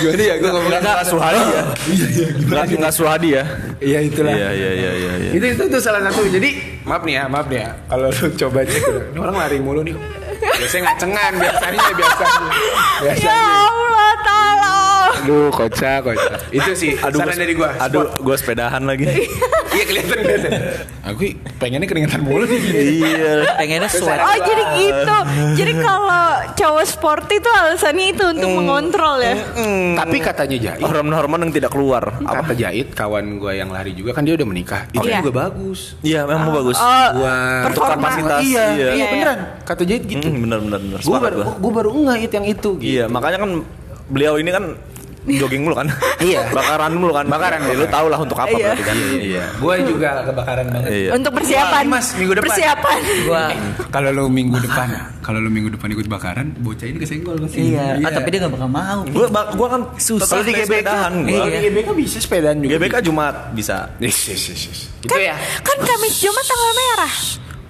Speaker 1: Gimana ya gue ngomong
Speaker 2: Nggak suhadi ya. Lagi nggak suhadi ya.
Speaker 1: Iya itulah.
Speaker 2: Iya iya iya iya. iya.
Speaker 1: Itu, itu itu salah satu. Jadi maaf nih ya, maaf nih ya. Kalau lu coba cek, ini orang lari mulu nih. Biasanya ngacengan, biasanya biasanya.
Speaker 3: Ya
Speaker 1: Biasanya.
Speaker 3: Allah, tolong.
Speaker 1: Aduh, kocak, kocak. Itu sih saran dari gua.
Speaker 2: Aduh, gua sepedahan lagi.
Speaker 1: Iya kelihatan kelihatan. Hmm. Aku pengennya keringetan mulu nih.
Speaker 2: iya.
Speaker 4: pengennya sweat.
Speaker 3: Oh jadi gitu. Jadi kalau cowok sporty itu alasannya itu untuk mengontrol ya.
Speaker 1: Hmm. Tapi katanya Jait,
Speaker 2: Hormon-hormon yang tidak keluar.
Speaker 1: kata Jait kawan gua yang lari juga kan dia udah menikah. Itu
Speaker 3: Iya.
Speaker 1: juga bagus.
Speaker 2: Iya, memang bagus.
Speaker 3: Oh,
Speaker 1: Buat
Speaker 3: performa.
Speaker 2: kapasitas.
Speaker 1: Eh, Iya,
Speaker 2: Iya.
Speaker 1: iya, beneran. Kata Jait gitu.
Speaker 2: Hmm, bener bener bener.
Speaker 1: Gua
Speaker 2: Sepakat
Speaker 1: baru
Speaker 2: gua.
Speaker 1: gua baru ngait yang itu gitu.
Speaker 2: Iya, makanya kan beliau ini kan jogging mulu kan.
Speaker 1: Iya.
Speaker 2: Bakaran mulu kan. Bakaran. Ya, lu tau lah untuk apa
Speaker 3: Iya.
Speaker 2: berarti kan. Iya.
Speaker 1: Gua juga kebakaran banget.
Speaker 2: Iya.
Speaker 3: Untuk persiapan.
Speaker 1: Wah, Dimas, minggu depan.
Speaker 3: Persiapan.
Speaker 4: Gua
Speaker 1: Kalau lu minggu depan, kalau lu minggu depan ikut bakaran, bocah ini kesenggol pasti.
Speaker 4: iya. Ah, tapi dia gak bakal mau.
Speaker 2: Gua ba- gua kan
Speaker 4: Susah.
Speaker 2: tetap di GBK. Gua. Iya.
Speaker 1: Kalau di GBK bisa sepedaan juga.
Speaker 2: GBK Jumat bisa.
Speaker 1: Yes, yes, yes, yes. Gitu ya.
Speaker 3: Kan Kamis Jumat tanggal merah.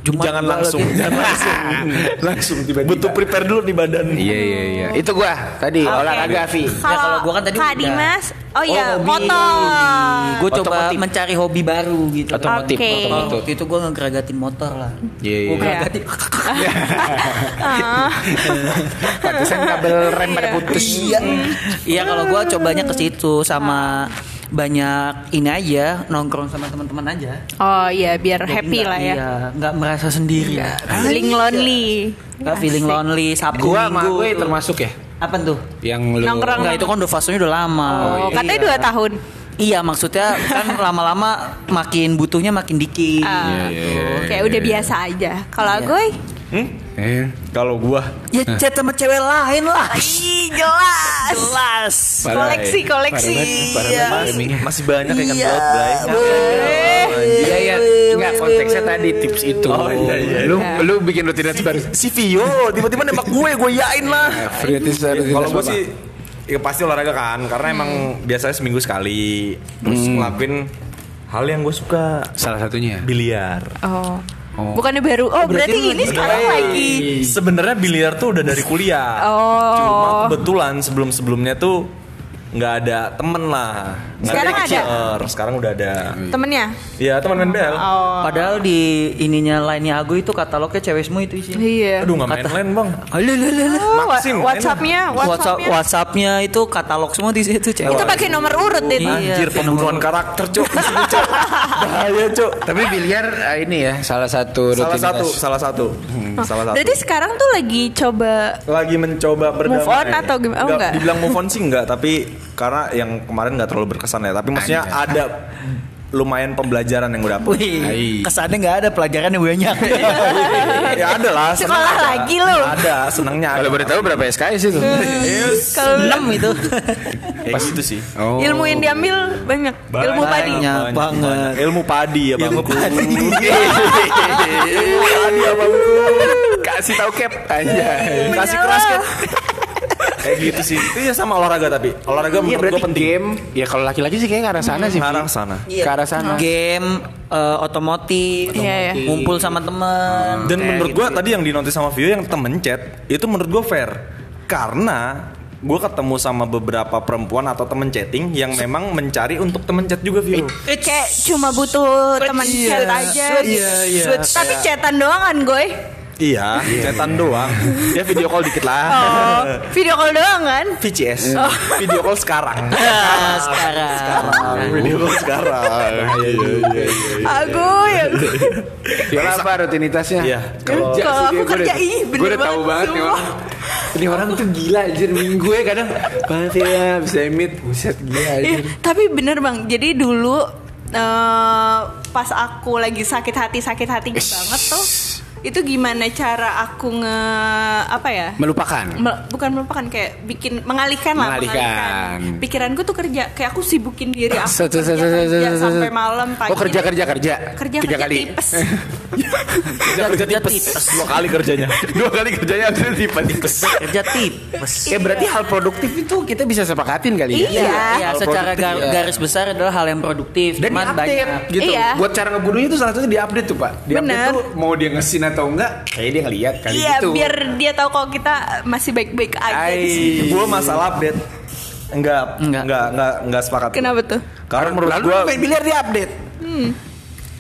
Speaker 4: Jumat
Speaker 2: jangan
Speaker 4: gua
Speaker 2: langsung,
Speaker 4: lagi.
Speaker 2: jangan langsung.
Speaker 1: Langsung tiba-tiba.
Speaker 2: Butuh prepare dulu di badan.
Speaker 1: Iya, iya, iya. Itu gua tadi
Speaker 3: Oke.
Speaker 1: olahraga Vi.
Speaker 4: Ya, kalau gua kan tadi
Speaker 3: Kak
Speaker 4: udah.
Speaker 3: Dimas, oh iya,
Speaker 4: hobi.
Speaker 3: motor.
Speaker 4: Gue coba
Speaker 1: Otomotif.
Speaker 4: mencari hobi baru gitu.
Speaker 1: Otomotif,
Speaker 3: Oke.
Speaker 4: Oh,
Speaker 1: otomotif.
Speaker 4: waktu itu gue ngegeragatin motor lah.
Speaker 1: Iya,
Speaker 4: Gue
Speaker 1: iya.
Speaker 4: geragatin.
Speaker 3: Ah,
Speaker 1: Pantesan kabel rem pada putus.
Speaker 4: Iya. Iya kalau gue cobanya ke situ sama banyak ini aja nongkrong sama teman-teman aja.
Speaker 3: Oh iya, biar
Speaker 4: Jadi
Speaker 3: happy
Speaker 4: nggak-
Speaker 3: lah ya. Iya.
Speaker 4: Iya, nggak merasa sendiri.
Speaker 3: Feeling lonely.
Speaker 4: Nggak feeling lonely Sabtu
Speaker 1: Gua sama
Speaker 4: Minggu.
Speaker 1: gue
Speaker 4: tuh.
Speaker 1: termasuk ya.
Speaker 4: Apa tuh?
Speaker 1: Yang lu
Speaker 3: Nongkrong.
Speaker 4: Enggak itu kan udah fasenya udah lama.
Speaker 3: Oh, katanya
Speaker 4: Iya.
Speaker 3: dua tahun.
Speaker 4: Iya maksudnya kan lama-lama makin butuhnya makin dikit.
Speaker 1: iya,
Speaker 3: Ah,
Speaker 1: iya,
Speaker 3: Kayak udah biasa aja. Kalau gue,
Speaker 1: Eh,
Speaker 2: Kalau gua
Speaker 4: Ya chat sama cewek lain lah.
Speaker 3: ih jelas.
Speaker 4: Jelas.
Speaker 1: parah,
Speaker 3: Koleksi,
Speaker 1: eh.
Speaker 3: koleksi.
Speaker 1: Parah banget,
Speaker 2: Iya.
Speaker 3: Iya.
Speaker 1: parah banget.
Speaker 2: masih, masih banyak yang kan buat Bray.
Speaker 1: Iya iya, enggak konteksnya tadi tips itu.
Speaker 2: Oh, iya, iya.
Speaker 1: Lu lu bikin rutinitas baru.
Speaker 2: Si Vio tiba-tiba nembak gue, gue yain lah.
Speaker 1: Eh, Rutinitas rutinitas
Speaker 2: Kalau gue
Speaker 1: apa?
Speaker 2: sih ya pasti olahraga kan, karena
Speaker 3: Hmm.
Speaker 2: emang biasanya seminggu sekali terus ngelakuin hal yang gue suka
Speaker 1: salah satunya.
Speaker 2: biliar.
Speaker 3: Oh.
Speaker 1: Oh.
Speaker 3: Bukannya baru. Oh, berarti,
Speaker 4: berarti
Speaker 3: ini
Speaker 4: lagi-
Speaker 3: sekarang lagi.
Speaker 2: Sebenarnya biliar tuh udah dari kuliah.
Speaker 3: Oh.
Speaker 2: Cuma kebetulan sebelum-sebelumnya tuh nggak ada temen lah. Nggak
Speaker 3: Sekarang ada?
Speaker 2: Kecer. Sekarang udah ada.
Speaker 3: Temennya?
Speaker 2: Iya teman main bel.
Speaker 3: Oh.
Speaker 4: Padahal di ininya lainnya Agu itu katalognya cewek semua itu isinya.
Speaker 3: Iya.
Speaker 2: Aduh nggak main
Speaker 4: Kata-
Speaker 2: lain bang.
Speaker 4: Alah, alah, alah, alah.
Speaker 3: Oh, wa-
Speaker 2: Maxim, enak.
Speaker 3: WhatsApp-nya,
Speaker 4: WhatsApp
Speaker 3: WhatsApp-nya.
Speaker 4: WhatsApp-nya itu katalog semua di situ cewek.
Speaker 3: Itu pakai nomor urut itu.
Speaker 4: Iya,
Speaker 2: Anjir
Speaker 4: kayak
Speaker 2: pembunuhan
Speaker 4: nomor-
Speaker 2: karakter cok. Di sini, Cok. Bahaya cok.
Speaker 1: Tapi biliar eh, ini ya salah satu
Speaker 2: Salah
Speaker 1: rutinitas.
Speaker 2: satu, salah satu, salah satu.
Speaker 3: Hmm. Berarti sekarang tuh lagi coba
Speaker 2: lagi mencoba berdamai.
Speaker 3: on atau gimana? Oh,
Speaker 2: Nggak,
Speaker 3: enggak.
Speaker 2: Dibilang move on sih enggak, tapi karena yang kemarin nggak terlalu berkesan ya. Tapi maksudnya
Speaker 1: Anjay.
Speaker 2: ada lumayan pembelajaran yang gue dapet.
Speaker 1: Hai.
Speaker 4: Wih, kesannya nggak ada pelajaran yang banyak.
Speaker 3: Iya.
Speaker 2: ya ada lah. seneng
Speaker 3: Sekolah
Speaker 2: ada.
Speaker 3: lagi lu.
Speaker 2: Ada, senangnya ada.
Speaker 1: Kalau boleh tahu berapa SKS itu?
Speaker 3: Eh, kalau
Speaker 4: Enam itu.
Speaker 2: Ya, pas itu sih.
Speaker 1: Oh.
Speaker 3: ilmu yang diambil banyak, ilmu padi.
Speaker 4: Banyak banget.
Speaker 2: Ilmu padi ya bang. Ilmu padi.
Speaker 1: ya Kasih tahu cap aja.
Speaker 2: Kasih
Speaker 3: Menyala.
Speaker 2: keras kan. Kayak gitu sih. Itu ya sama olahraga tapi olahraga
Speaker 1: Iya
Speaker 2: menurut
Speaker 1: berarti
Speaker 2: gue penting.
Speaker 1: game ya kalau laki-laki sih kayaknya ke arah sana sih. Fi.
Speaker 2: Ke arah sana.
Speaker 1: Ke arah sana.
Speaker 4: Game eh, otomotif,
Speaker 3: Iya, iya.
Speaker 4: ngumpul sama temen.
Speaker 2: Dan
Speaker 1: Kayak
Speaker 2: menurut
Speaker 1: gitu.
Speaker 2: gua tadi yang dinotis sama Vio yang temen chat itu menurut gua fair karena gua ketemu sama beberapa perempuan atau temen chatting yang memang mencari untuk temen chat juga Vio.
Speaker 3: Kayak cuma butuh teman
Speaker 4: iya.
Speaker 3: chat aja.
Speaker 4: Iya, iya.
Speaker 3: Tapi chatan doangan, goy.
Speaker 2: Iya, chatan doang. Dia video call dikit
Speaker 4: Iya.
Speaker 2: lah.
Speaker 3: Oh, video call doang kan?
Speaker 2: VCS. Video call sekarang.
Speaker 4: Ah, sekarang.
Speaker 2: video call sekarang.
Speaker 4: Iya,
Speaker 3: Aku ya.
Speaker 1: Ya lah, apa rutinitasnya?
Speaker 2: Iya.
Speaker 1: Kerja
Speaker 3: Kalau
Speaker 1: sih
Speaker 3: aku
Speaker 1: dia, gua
Speaker 3: kerja,
Speaker 1: udah-
Speaker 3: ih, bener
Speaker 1: gua udah tahu
Speaker 3: banget,
Speaker 1: banget nih
Speaker 3: sumpah.
Speaker 1: orang. Ini orang tuh gila anjir minggu ya kadang banget ya bisa meet buset gila
Speaker 3: Iya,
Speaker 1: anjir.
Speaker 3: tapi bener bang. Jadi dulu eh, pas aku lagi sakit hati sakit hati banget tuh, itu gimana cara aku nge apa ya?
Speaker 1: Melupakan.
Speaker 3: Mel- bukan melupakan kayak bikin mengalihkan lah
Speaker 1: Mengalihkan.
Speaker 3: pikiranku tuh kerja kayak aku sibukin diri aku
Speaker 1: Set, set, set,
Speaker 3: kerja,
Speaker 1: set, set,
Speaker 3: kerja
Speaker 1: set, set.
Speaker 3: sampai malam pagi
Speaker 1: Oh kerja kerja kerja.
Speaker 3: kerja
Speaker 1: tiga
Speaker 3: kerja
Speaker 1: kali.
Speaker 3: tipes
Speaker 2: Kerja kerja tipes. Dua kali kerjanya.
Speaker 1: Dua kali kerjanya ada tipes.
Speaker 4: Kerja tipes.
Speaker 1: Ya berarti hal produktif itu kita bisa sepakatin kali ya.
Speaker 3: Iya.
Speaker 4: Iya, secara gar-
Speaker 1: Iya.
Speaker 4: garis besar adalah hal yang produktif.
Speaker 1: Dan
Speaker 4: cuman
Speaker 1: di-update
Speaker 4: banyak
Speaker 1: gitu.
Speaker 3: Iya.
Speaker 1: Buat cara ngebunuhnya itu salah satunya di-update tuh, Pak. Di-update
Speaker 3: Bener.
Speaker 1: tuh mau dia ngesin atau enggak, kayak dia ngeliat kali
Speaker 3: iya
Speaker 1: gitu.
Speaker 3: biar dia tahu kalau kita masih baik baik aja di sini.
Speaker 1: Ai.
Speaker 2: Iya. Gua masalah update. Enggak,
Speaker 4: Enggak.
Speaker 2: enggak, enggak, enggak sepakat.
Speaker 3: kenapa tuh
Speaker 2: Karena menurut
Speaker 1: Lalu
Speaker 2: gua
Speaker 1: main biliar di-update.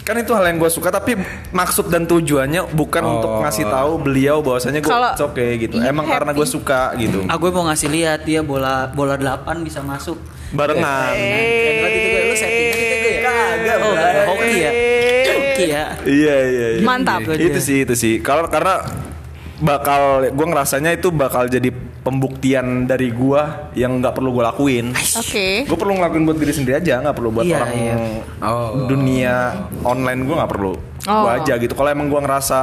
Speaker 2: kan itu hal yang gue suka tapi maksud dan tujuannya bukan untuk ngasih tahu beliau bahwasanya gue
Speaker 3: Kalau-
Speaker 2: oke gitu
Speaker 3: Iya,
Speaker 2: emang karena gue
Speaker 3: happy.
Speaker 2: suka gitu
Speaker 4: Ah, gue mau ngasih lihat dia bola bola 8 bisa masuk.
Speaker 2: barengan
Speaker 4: Keren banget itu gue, lu settingan itu gue ya? Oh, hoki ya. Hoki ya.
Speaker 2: iya iya, iya.
Speaker 3: Mantap.
Speaker 2: itu sih itu sih kalau karena bakal gue ngerasanya itu bakal jadi pembuktian dari gue yang nggak perlu gue lakuin
Speaker 3: oke
Speaker 2: gue perlu ngelakuin buat diri sendiri aja nggak perlu buat
Speaker 4: Iya,
Speaker 2: orang
Speaker 4: iya.
Speaker 1: Oh.
Speaker 2: dunia online gue nggak perlu
Speaker 3: Oh.
Speaker 2: gue aja gitu kalau emang gue ngerasa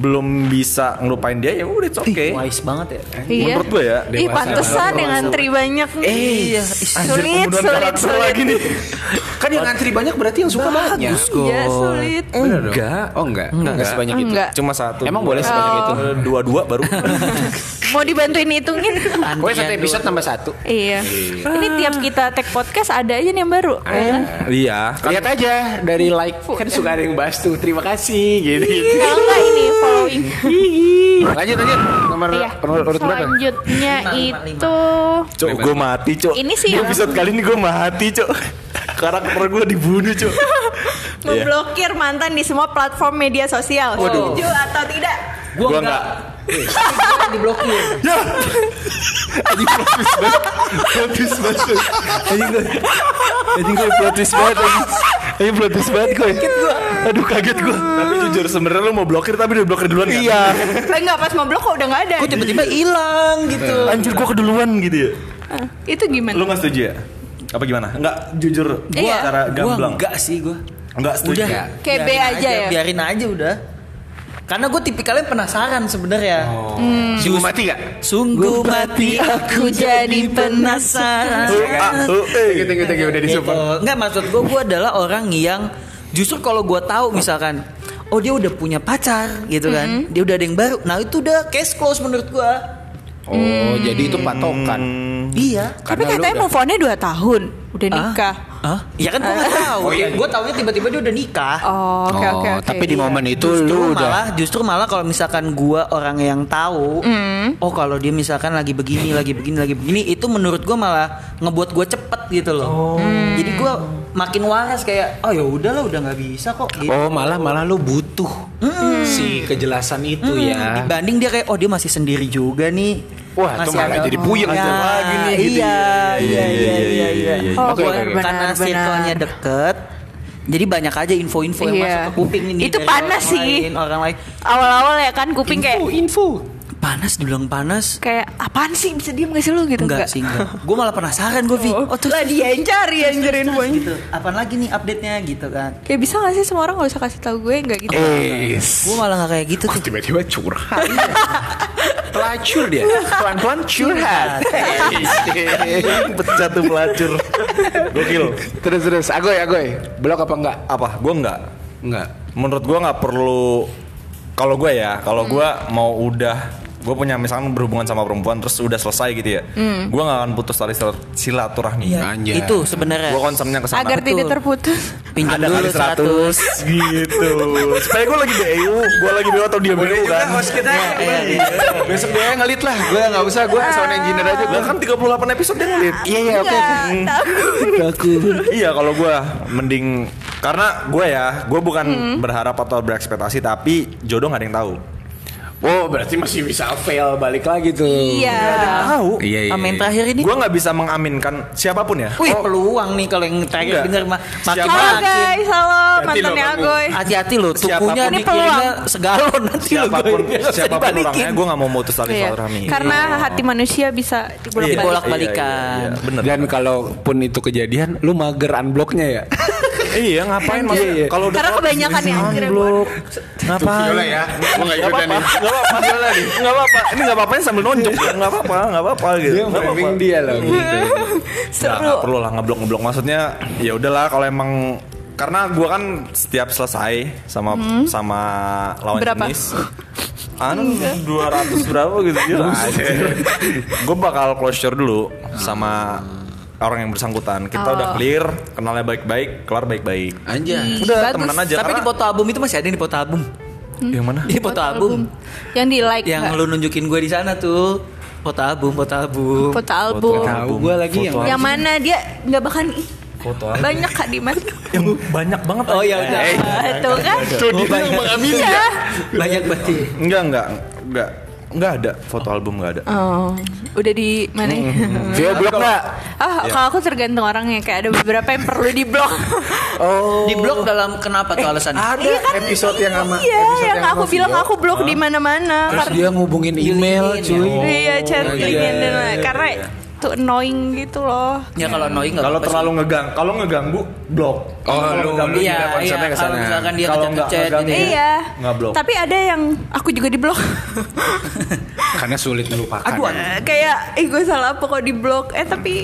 Speaker 2: belum bisa ngelupain dia ya udah it's okay
Speaker 4: Wise banget ya.
Speaker 3: iya
Speaker 2: menurut gue ya
Speaker 3: Ih
Speaker 1: Dewasa Eh,
Speaker 3: pantesan yang ngantri banyak nih.
Speaker 4: Iya,
Speaker 3: sulit, Iya,
Speaker 2: pembunuhan
Speaker 3: sulit,
Speaker 2: karakter
Speaker 3: sulit.
Speaker 2: lagi nih.
Speaker 1: Kan yang ngantri banyak berarti yang suka banyak.
Speaker 4: Bagus kok.
Speaker 3: Iya sulit.
Speaker 1: Bener dong? Oh enggak. Enggak, sebanyak itu.
Speaker 3: Enggak.
Speaker 2: Cuma satu. Oh.
Speaker 1: Emang boleh sebanyak itu?
Speaker 2: Dua-dua baru.
Speaker 3: Mau dibantuin hitungin?
Speaker 1: Pokoknya satu episode tambah satu.
Speaker 3: iya. Ini tiap kita tag podcast ada aja nih yang baru. ya
Speaker 1: Ah.
Speaker 2: iya. Kan
Speaker 1: Lihat aja dari like kan suka ada yang bahas tuh. Terima kasih gitu.
Speaker 3: Kalau nggak ini following.
Speaker 1: Lanjut lanjut. Nomor
Speaker 3: Iya.
Speaker 1: nomor urut berapa?
Speaker 3: Selanjutnya
Speaker 4: Lima, lima,
Speaker 3: itu
Speaker 2: Cok, gue mati, Cok.
Speaker 3: Ini sih
Speaker 2: Di
Speaker 3: yang-
Speaker 2: episode kali ini gue mati, Cok. Karakter gue dibunuh, Cok.
Speaker 3: memblokir mantan di semua platform media sosial. Setuju atau tidak?
Speaker 4: Gua
Speaker 2: Gua
Speaker 4: enggak.
Speaker 2: enggak.
Speaker 4: Gua diblokir.
Speaker 2: Ya. Ini plot twist banget. Plot twist banget. Cok. Anjing gue. Anjing gue plot twist banget. anjing. Anjing plot twist banget gue. Aduh kaget gue. Tapi jujur sebenarnya lu mau blokir tapi udah blokir duluan Iya.
Speaker 3: Lah enggak Eh, pas mau blok kok udah nggak ada.
Speaker 4: Kok tiba-tiba hilang gitu.
Speaker 2: Anjir gue keduluan gitu ya.
Speaker 3: Ah, Itu gimana?
Speaker 2: Lu gak setuju ya? Apa gimana? Enggak, jujur Gua
Speaker 3: Iya.
Speaker 2: cara
Speaker 4: Gua
Speaker 2: gamblang
Speaker 4: enggak sih gua.
Speaker 2: Enggak setuju
Speaker 4: Udah.
Speaker 3: Kayak B
Speaker 4: biarin
Speaker 3: aja ya?
Speaker 4: Biarin aja udah. Karena gue tipikalnya penasaran sebenarnya.
Speaker 1: Sungguh mati gak?
Speaker 4: Sungguh Oh. mati aku jadi penasaran.
Speaker 2: Tuh, ah, tuh, eh.
Speaker 1: Thank you, thank you, thank you. Udah disupport.
Speaker 4: Gitu. Enggak maksud gue, gue adalah orang yang justru kalau gue tahu misalkan, oh dia udah punya pacar gitu kan,
Speaker 3: Mm-hmm.
Speaker 4: dia udah ada yang baru. Nah itu udah case close menurut gue.
Speaker 1: Oh, jadi itu patokan.
Speaker 4: Iya.
Speaker 1: Karena lu
Speaker 3: Tapi katanya
Speaker 1: udah-
Speaker 3: move on-nya 2 tahun, udah
Speaker 4: Ah.
Speaker 3: nikah.
Speaker 4: Hah? Ya kan gue nggak tahu.
Speaker 1: Oh, iya,
Speaker 4: Gue taunya tiba-tiba dia udah nikah.
Speaker 3: Oh, oke
Speaker 1: Oh,
Speaker 3: oke oke.
Speaker 1: tapi di momen itu
Speaker 4: justru
Speaker 1: lu
Speaker 4: malah
Speaker 1: udah
Speaker 4: justru malah kalau misalkan gua orang yang tahu
Speaker 3: Mm.
Speaker 4: oh kalau dia misalkan lagi begini lagi begini lagi begini itu menurut gua malah ngebuat gua cepet gitu
Speaker 1: Oh.
Speaker 4: loh jadi gua makin waras kayak oh ya udahlah udah nggak bisa kok gitu.
Speaker 1: Oh, malah malah lu butuh si kejelasan itu
Speaker 4: Hmm,
Speaker 1: ya.
Speaker 4: dibanding dia kayak oh dia masih sendiri juga nih
Speaker 1: Wah, itu
Speaker 4: Masih
Speaker 1: malah
Speaker 4: ada-
Speaker 1: jadi puyeng
Speaker 4: Ya,
Speaker 1: tuh. Lagi nih, gitu.
Speaker 4: iya, iya, iya, iya, iya,
Speaker 2: iya.
Speaker 3: Oh,
Speaker 1: Oke, oke, oke.
Speaker 3: benar,
Speaker 4: karena
Speaker 3: benar.
Speaker 4: circle-nya deket jadi banyak aja info-info yang
Speaker 3: Iya.
Speaker 4: masuk ke kuping ini
Speaker 3: Itu
Speaker 4: dari
Speaker 3: panas
Speaker 4: orang
Speaker 3: sih.
Speaker 4: lain, orang lain
Speaker 3: Awal-awal ya kan kuping kayak
Speaker 4: panas dibilang panas
Speaker 3: kayak apaan sih bisa diem gak sih lu gitu
Speaker 4: enggak sih enggak gue malah penasaran gue Vi
Speaker 3: Oh, terus lah dia yang cari yang cariin
Speaker 4: Terus
Speaker 3: gue.
Speaker 4: gitu apaan lagi nih update nya gitu kan
Speaker 3: Kayak bisa gak sih semua orang gak usah kasih tahu gue nggak gitu.
Speaker 1: Eh,
Speaker 4: gue malah nggak kayak gitu
Speaker 1: Wah,
Speaker 4: tuh
Speaker 1: tiba-tiba curhat. Pelacur dia. Pelan-pelan curhat.
Speaker 2: Pecah tuh pelacur. Gokil.
Speaker 1: terus terus agoy agoy. Blok apa enggak?
Speaker 2: Apa? Gue nggak.
Speaker 1: Enggak.
Speaker 2: Menurut gue nggak perlu. Kalau gue ya, kalau gue mau udah gue punya misalkan berhubungan sama perempuan terus udah selesai gitu ya, gue nggak akan putus tali sil- silaturahmi.
Speaker 4: Iya,
Speaker 1: Anjay.
Speaker 4: itu sebenarnya
Speaker 2: Gue concernnya ke sana.
Speaker 3: Agar tidak
Speaker 4: Betul.
Speaker 3: terputus.
Speaker 4: pinjam
Speaker 2: Ada
Speaker 4: dulu
Speaker 2: kali 100
Speaker 4: 100
Speaker 2: gitu. Supaya gue lagi BU, gue lagi BU atau dia BU kan.
Speaker 4: Iya,
Speaker 1: Besok dia ngelit lah. Gue nggak usah. Gue sound engineer aja.
Speaker 2: Gue kan 38 episode dia ngelit.
Speaker 1: Iya iya oke.
Speaker 2: iya kalau gue mending karena gue ya gue bukan berharap atau berekspektasi tapi jodoh gak ada yang tahu
Speaker 1: Oh berarti masih bisa fail balik lagi tuh.
Speaker 3: Iya.
Speaker 2: tahu
Speaker 1: Iya iya.
Speaker 4: Amin terakhir ini
Speaker 2: gue nggak bisa mengaminkan siapapun ya
Speaker 4: Wih peluang nih kalau yang terakhir
Speaker 2: Enggak.
Speaker 4: denger mah makin
Speaker 2: Siapa?
Speaker 3: Halo
Speaker 4: makin
Speaker 3: guys, halo
Speaker 1: Hati lo
Speaker 3: mantannya
Speaker 1: kamu.
Speaker 3: Agoy.
Speaker 4: hati-hati loh tukunya
Speaker 2: Siapapun-
Speaker 4: ini
Speaker 2: Ini
Speaker 4: peluang segalon nanti lo
Speaker 2: siapapun
Speaker 4: gue
Speaker 2: siapapun orangnya gue nggak mau mutus tali
Speaker 3: Iya.
Speaker 2: silaturahmi
Speaker 3: Karena hati manusia bisa dibolak
Speaker 2: Iya,
Speaker 4: Dibolak
Speaker 2: iya, iya,
Speaker 4: balikan.
Speaker 2: iya, bener
Speaker 1: Dan kalaupun itu kejadian, lu mager unblocknya ya.
Speaker 2: iya ngapain mas
Speaker 1: Iya, iya.
Speaker 2: kalau udah
Speaker 3: Karena kebanyakan ya akhirnya gue.
Speaker 2: ngapain
Speaker 1: Gue ya. nggak
Speaker 2: Gak apa-apa, gak apa-apa, gak apa-apa. Ini gak apa-apa sambil nonjok, gak apa-apa, gak apa-apa gitu.
Speaker 1: Dia
Speaker 2: Nggak apa-apa.
Speaker 1: framing dia loh. Gitu.
Speaker 2: Nggak, nggak perlu lah ngeblok ngeblok maksudnya ya udahlah kalau emang karena gua kan setiap selesai sama sama lawan
Speaker 3: Berapa?
Speaker 2: jenis anu 200 berapa gitu gila gue bakal closure dulu sama orang yang bersangkutan kita udah clear kenalnya baik-baik kelar baik-baik
Speaker 1: Anjay.
Speaker 2: udah
Speaker 3: bagus.
Speaker 2: temenan aja
Speaker 4: tapi di
Speaker 2: karena-
Speaker 4: foto album itu masih ada yang di foto album
Speaker 2: yang mana
Speaker 4: di foto album
Speaker 3: Yang di like
Speaker 4: yang lu nunjukin gue di sana tuh foto album foto album
Speaker 3: foto album.
Speaker 2: Foto
Speaker 1: Tahu gue lagi yang
Speaker 3: Yang mana dia nggak bahkan ih,
Speaker 2: foto album.
Speaker 3: banyak kak di mana?
Speaker 2: yang banyak banget
Speaker 4: oh ya udah
Speaker 2: Eh,
Speaker 3: Itu kan.
Speaker 4: Oh, banyak
Speaker 2: ya?
Speaker 3: Iya.
Speaker 4: banyak banget
Speaker 2: enggak enggak enggak enggak ada foto album enggak ada
Speaker 3: Oh, udah di mana? ya?
Speaker 1: Vio blok nggak?
Speaker 3: Ah, kalau aku tergantung orangnya kayak ada beberapa yang perlu di blok.
Speaker 2: Oh.
Speaker 4: di blok dalam kenapa tuh
Speaker 2: Eh,
Speaker 4: alasan Iya kan?
Speaker 1: Ada episode yang sama
Speaker 3: Iya,
Speaker 1: episode
Speaker 3: yang
Speaker 1: sama
Speaker 3: aku bilang
Speaker 1: Vio.
Speaker 3: aku blok di mana-mana.
Speaker 1: Terus
Speaker 3: Karena
Speaker 1: dia ngubungin email,
Speaker 4: Ngilingin,
Speaker 1: cuy.
Speaker 4: ya.
Speaker 3: iya chattingin
Speaker 1: iya,
Speaker 3: dan lain. Karena itu annoying gitu loh.
Speaker 4: ya kalau annoying nggak
Speaker 2: Kalau
Speaker 4: apa-apa sih.
Speaker 2: terlalu ngegang, kalau ngeganggu blok.
Speaker 1: Oh,
Speaker 2: Kalau
Speaker 1: lu-
Speaker 2: ngeganggu,
Speaker 4: iya,
Speaker 2: tidak
Speaker 4: iya,
Speaker 2: konsepnya ke sana.
Speaker 4: kalau misalkan dia
Speaker 2: Kalau
Speaker 4: ngechat-
Speaker 2: nggak
Speaker 4: ngechat
Speaker 2: ngeganggu,
Speaker 4: gitu
Speaker 3: Iya.
Speaker 2: nggak blok.
Speaker 3: Tapi ada yang aku juga di blok.
Speaker 1: Karena sulit melupakan.
Speaker 4: aduh
Speaker 3: kayak eh gue salah apa kok di blok. Eh tapi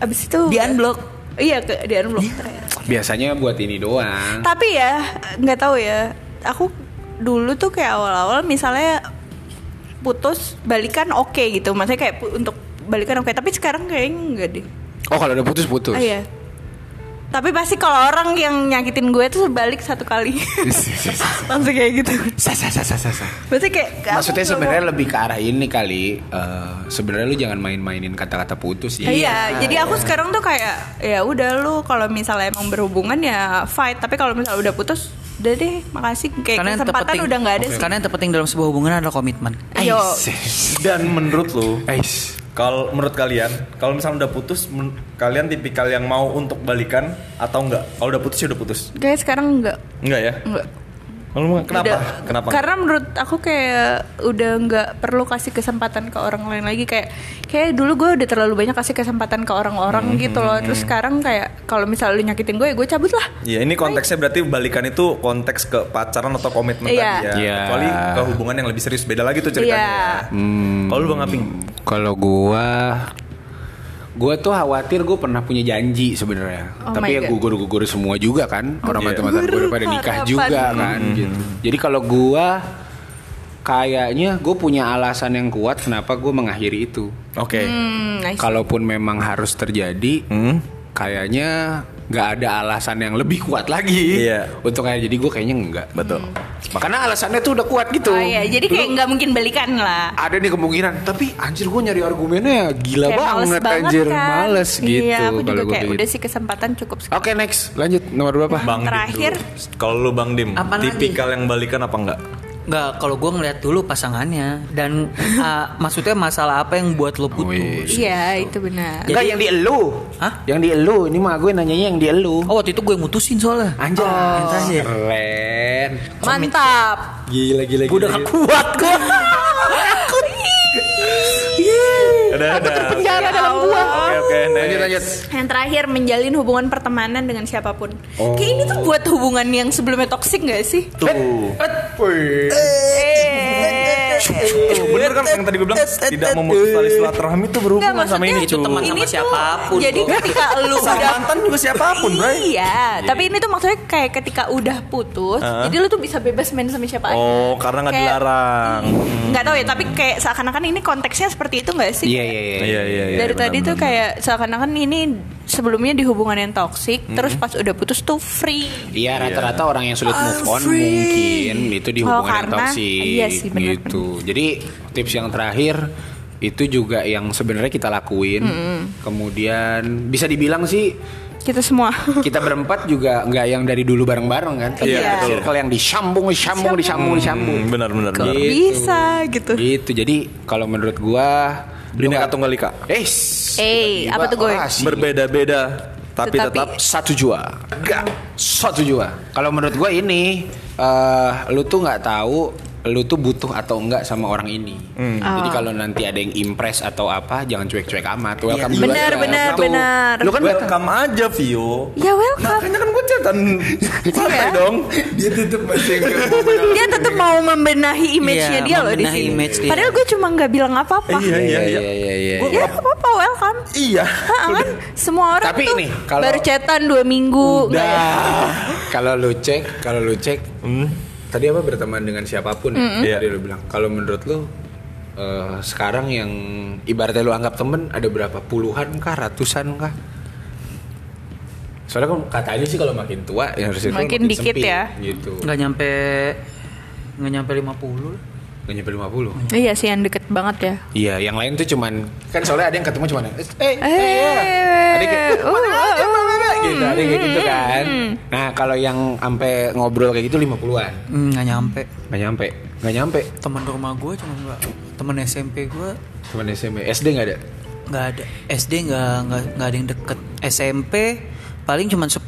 Speaker 3: abis itu
Speaker 4: di unblock
Speaker 3: Iya, ke di unblock. terakhir.
Speaker 1: Biasanya buat ini doang.
Speaker 3: Tapi ya nggak tahu ya. Aku dulu tuh kayak awal-awal misalnya putus balikan oke gitu. Maksudnya kayak pu- untuk balikan oke, tapi sekarang kayaknya enggak deh.
Speaker 1: Oh kalau udah putus putus.
Speaker 3: Ah, iya. Tapi pasti kalau orang yang nyakitin gue tuh balik satu kali. Langsung kayak gitu.
Speaker 1: Sa, sa, sa, sa, sa, sa.
Speaker 3: Berarti kayak aku
Speaker 1: Maksudnya
Speaker 3: nggak mau-
Speaker 1: sebenarnya lebih ke arah ini kali. eh, sebenarnya lu jangan main-mainin kata-kata putus ya.
Speaker 3: Iya, jadi aku sekarang tuh kayak ya udah lu kalau misalnya emang berhubungan ya fight, tapi kalau misalnya udah putus udah deh, makasih kayak
Speaker 4: karena yang
Speaker 3: kesempatan
Speaker 4: terpenting
Speaker 3: udah nggak ada.
Speaker 4: karena yang terpenting dalam sebuah hubungan adalah komitmen
Speaker 3: Yo,
Speaker 2: Dan menurut lu,
Speaker 1: Ais.
Speaker 2: kalau menurut kalian, kalau misalnya udah putus, men- kalian tipikal yang mau untuk balikan atau enggak? Kalau udah putus ya udah putus.
Speaker 3: guys sekarang enggak
Speaker 2: Enggak ya?
Speaker 3: enggak.
Speaker 2: Lu mau- kenapa?
Speaker 3: Udah.
Speaker 2: Kenapa?
Speaker 3: Karena menurut aku kayak udah nggak perlu kasih kesempatan ke orang lain lagi kayak kayak dulu gue udah terlalu banyak kasih kesempatan ke orang-orang gitu loh. Terus sekarang kayak kalau misalnya lu nyakitin gue, ya gue cabut lah.
Speaker 2: Ya ini konteksnya berarti balikan itu konteks ke pacaran atau komitmen tadi
Speaker 3: Iya.
Speaker 2: ya.
Speaker 1: Iya.
Speaker 2: Kecuali ke hubungan yang lebih serius beda lagi tuh ceritanya.
Speaker 3: Iya.
Speaker 2: Hmm. Kalau lu Bang Aping,
Speaker 1: Kalau gua gua tuh khawatir gua pernah punya janji sebenarnya.
Speaker 3: Oh my
Speaker 1: Tapi ya
Speaker 3: God.
Speaker 1: gugur-gugur semua juga kan. Orang
Speaker 2: Iya.
Speaker 1: mantan-mantan gua udah pada
Speaker 3: Gugur
Speaker 1: nikah
Speaker 3: harapan.
Speaker 1: juga kan
Speaker 2: Hmm.
Speaker 1: gitu. Jadi kalau gua kayaknya gue punya alasan yang kuat kenapa gue mengakhiri itu.
Speaker 2: oke.
Speaker 3: Hmm, nice.
Speaker 1: Kalaupun memang harus terjadi,
Speaker 2: Hmm.
Speaker 1: kayaknya nggak ada alasan yang lebih kuat lagi
Speaker 2: Iya.
Speaker 1: untuk kayak jadi gue kayaknya enggak
Speaker 2: Betul.
Speaker 1: makanya alasannya tuh udah kuat gitu
Speaker 3: Oh iya, jadi
Speaker 1: Dulu
Speaker 3: kayak nggak mungkin belikan lah.
Speaker 1: ada nih kemungkinan tapi anjir gue nyari argumennya gila
Speaker 3: Kayak males
Speaker 1: banget, anjir
Speaker 3: kan.
Speaker 1: males gitu
Speaker 3: Iya, aku juga
Speaker 1: kalau gue
Speaker 3: kayak
Speaker 1: begitu.
Speaker 3: udah sih kesempatan cukup sekali.
Speaker 1: Oke next lanjut nomor berapa?
Speaker 2: Bang Dim
Speaker 3: Terakhir.
Speaker 2: dulu. Kalau lu Bang Dim,
Speaker 4: Apa lagi?
Speaker 2: tipikal yang balikan apa enggak?
Speaker 4: Nggak, kalau gue ngeliat dulu pasangannya dan ah, maksudnya masalah apa yang buat lo
Speaker 1: Wih.
Speaker 4: putus?
Speaker 5: Iya, itu benar.
Speaker 1: Enggak yang di elu.
Speaker 4: Hah?
Speaker 1: Yang di elu. Ini mah gue nanyanya yang di elu.
Speaker 4: Oh waktu itu gue mutusin soalnya.
Speaker 1: Anjay.
Speaker 3: Oh.
Speaker 4: Anjay.
Speaker 1: Keren.
Speaker 3: Mantap.
Speaker 1: Gila gila
Speaker 4: Gue udah gak kuat gue.
Speaker 3: Iya,
Speaker 2: Ada
Speaker 3: ya
Speaker 2: ada.
Speaker 5: Penjara dalam gua.
Speaker 2: Oke oke.
Speaker 1: Lanjut
Speaker 2: next.
Speaker 1: lanjut.
Speaker 3: Yang terakhir menjalin hubungan pertemanan dengan siapapun.
Speaker 1: Oh.
Speaker 3: Kayak ini tuh buat hubungan yang sebelumnya toksik gak sih?
Speaker 2: Tuh.
Speaker 1: Wih.
Speaker 3: Eh.
Speaker 2: Tuh, Bener kan yang tadi gue bilang tidak memutus tali silaturahmi itu
Speaker 3: Nggak,
Speaker 2: berhubungan sama
Speaker 3: maksudnya
Speaker 2: ini
Speaker 4: Itu
Speaker 2: cu.
Speaker 4: teman
Speaker 3: ini
Speaker 4: sama
Speaker 3: tuh,
Speaker 4: siapapun,
Speaker 3: Jadi
Speaker 4: Bro.
Speaker 3: ketika lu
Speaker 2: Sama
Speaker 3: udah
Speaker 2: mantan juga siapapun, Bray.
Speaker 3: Iya, tapi ini tuh maksudnya kayak ketika udah putus,
Speaker 2: Heeh.
Speaker 3: jadi lu tuh bisa bebas main sama siapa aja.
Speaker 2: Oh, karena nggak
Speaker 3: Kayak-
Speaker 2: dilarang.
Speaker 3: Nggak tahu ya, tapi kayak seakan-akan ini konteksnya seperti itu nggak sih?
Speaker 1: Iya iya iya.
Speaker 2: Iya iya iya.
Speaker 3: Dari
Speaker 2: benar,
Speaker 3: tadi tuh
Speaker 2: benar,
Speaker 3: kayak seakan-akan ini sebelumnya di hubungan yang toksik, terus pas udah putus tuh free.
Speaker 1: Iya rata-rata orang yang sulit move on mungkin itu di
Speaker 3: Oh,
Speaker 1: hubungan yang
Speaker 3: karena-
Speaker 1: toksik
Speaker 3: iya sih, benar,
Speaker 1: gitu. Jadi tips yang terakhir itu juga yang sebenarnya kita lakuin. Kemudian bisa dibilang sih
Speaker 3: Kita semua.
Speaker 1: kita berempat juga nggak yang dari dulu bareng-bareng kan?
Speaker 3: Iya,
Speaker 1: Tapi
Speaker 2: betul.
Speaker 1: Circle yang disambung, disambung, disambung, disambung.
Speaker 2: Hmm, benar benar benar.
Speaker 1: Gitu.
Speaker 3: Bisa gitu.
Speaker 1: Gitu. Jadi kalau menurut gua
Speaker 2: Bineka Tunggal Ika.
Speaker 1: Eh,
Speaker 3: Eh, apa tuh, Goy?
Speaker 2: Berbeda-beda tapi
Speaker 3: Tetapi-
Speaker 2: tetap
Speaker 1: satu jua. Enggak, satu jua. Kalau menurut gua ini eh lu tuh nggak tahu lu tuh butuh atau enggak sama orang ini.
Speaker 2: Hmm.
Speaker 3: Ah.
Speaker 1: Jadi kalau nanti ada yang impress atau apa, jangan cuek-cuek amat. Welcome
Speaker 3: Iya.
Speaker 1: juga
Speaker 3: Benar,
Speaker 1: ya.
Speaker 3: benar,
Speaker 1: Gitu.
Speaker 3: benar.
Speaker 1: Lu kan
Speaker 2: welcome aja Vio.
Speaker 3: Ya welcome.
Speaker 2: Makanya kan gue cetan santai dong.
Speaker 1: dia tutup masih
Speaker 3: Dia tetap mau membenahi image-nya
Speaker 4: Iya,
Speaker 3: dia loh di
Speaker 4: membenahi
Speaker 3: sini.
Speaker 4: image dia.
Speaker 3: Padahal gue cuma nggak bilang apa-apa.
Speaker 2: Iya iya iya.
Speaker 1: iya.
Speaker 2: Gua-
Speaker 3: Ya apa-apa welcome.
Speaker 2: Iya.
Speaker 3: Hah, kan semua orang
Speaker 1: Tapi
Speaker 3: tuh
Speaker 1: ini, kalau-
Speaker 3: baru cetan dua minggu nggak ya?
Speaker 1: Dah. kalau lu cek, kalau lu cek, tadi apa berteman dengan siapapun ya?
Speaker 2: Iya.
Speaker 1: Tadi lu bilang. Kalau menurut lu eh, sekarang yang ibaratnya lu anggap temen ada berapa puluhan kah, ratusan kah? Soalnya kan katanya sih kalau makin tua ya harus itu
Speaker 3: Makin dikit ya.
Speaker 1: Gitu.
Speaker 4: Nggak nyampe nggak nyampe 50 lah.
Speaker 1: Nggak nyampe 50.
Speaker 3: Iya sih yang deket banget ya.
Speaker 1: Iya, yang lain tuh cuman kan soalnya ada yang ketemu cuman eh eh,
Speaker 3: Eh,
Speaker 1: ada yang kayak
Speaker 3: uh,
Speaker 1: "Mana
Speaker 3: uh,
Speaker 1: aja,
Speaker 3: uh,
Speaker 1: mana ada?" gitu, ada yang kayak gitu kan. Nah, kalau yang ampe ngobrol kayak gitu 50-an.
Speaker 4: Hmm, Nggak nyampe.
Speaker 1: Nggak nyampe, nggak nyampe.
Speaker 4: Temen rumah gue cuma nggak. Temen SMP gue
Speaker 1: Cuman SMP, SD nggak ada.
Speaker 4: nggak ada. SD nggak nggak nggak ada yang deket. SMP paling cuma 10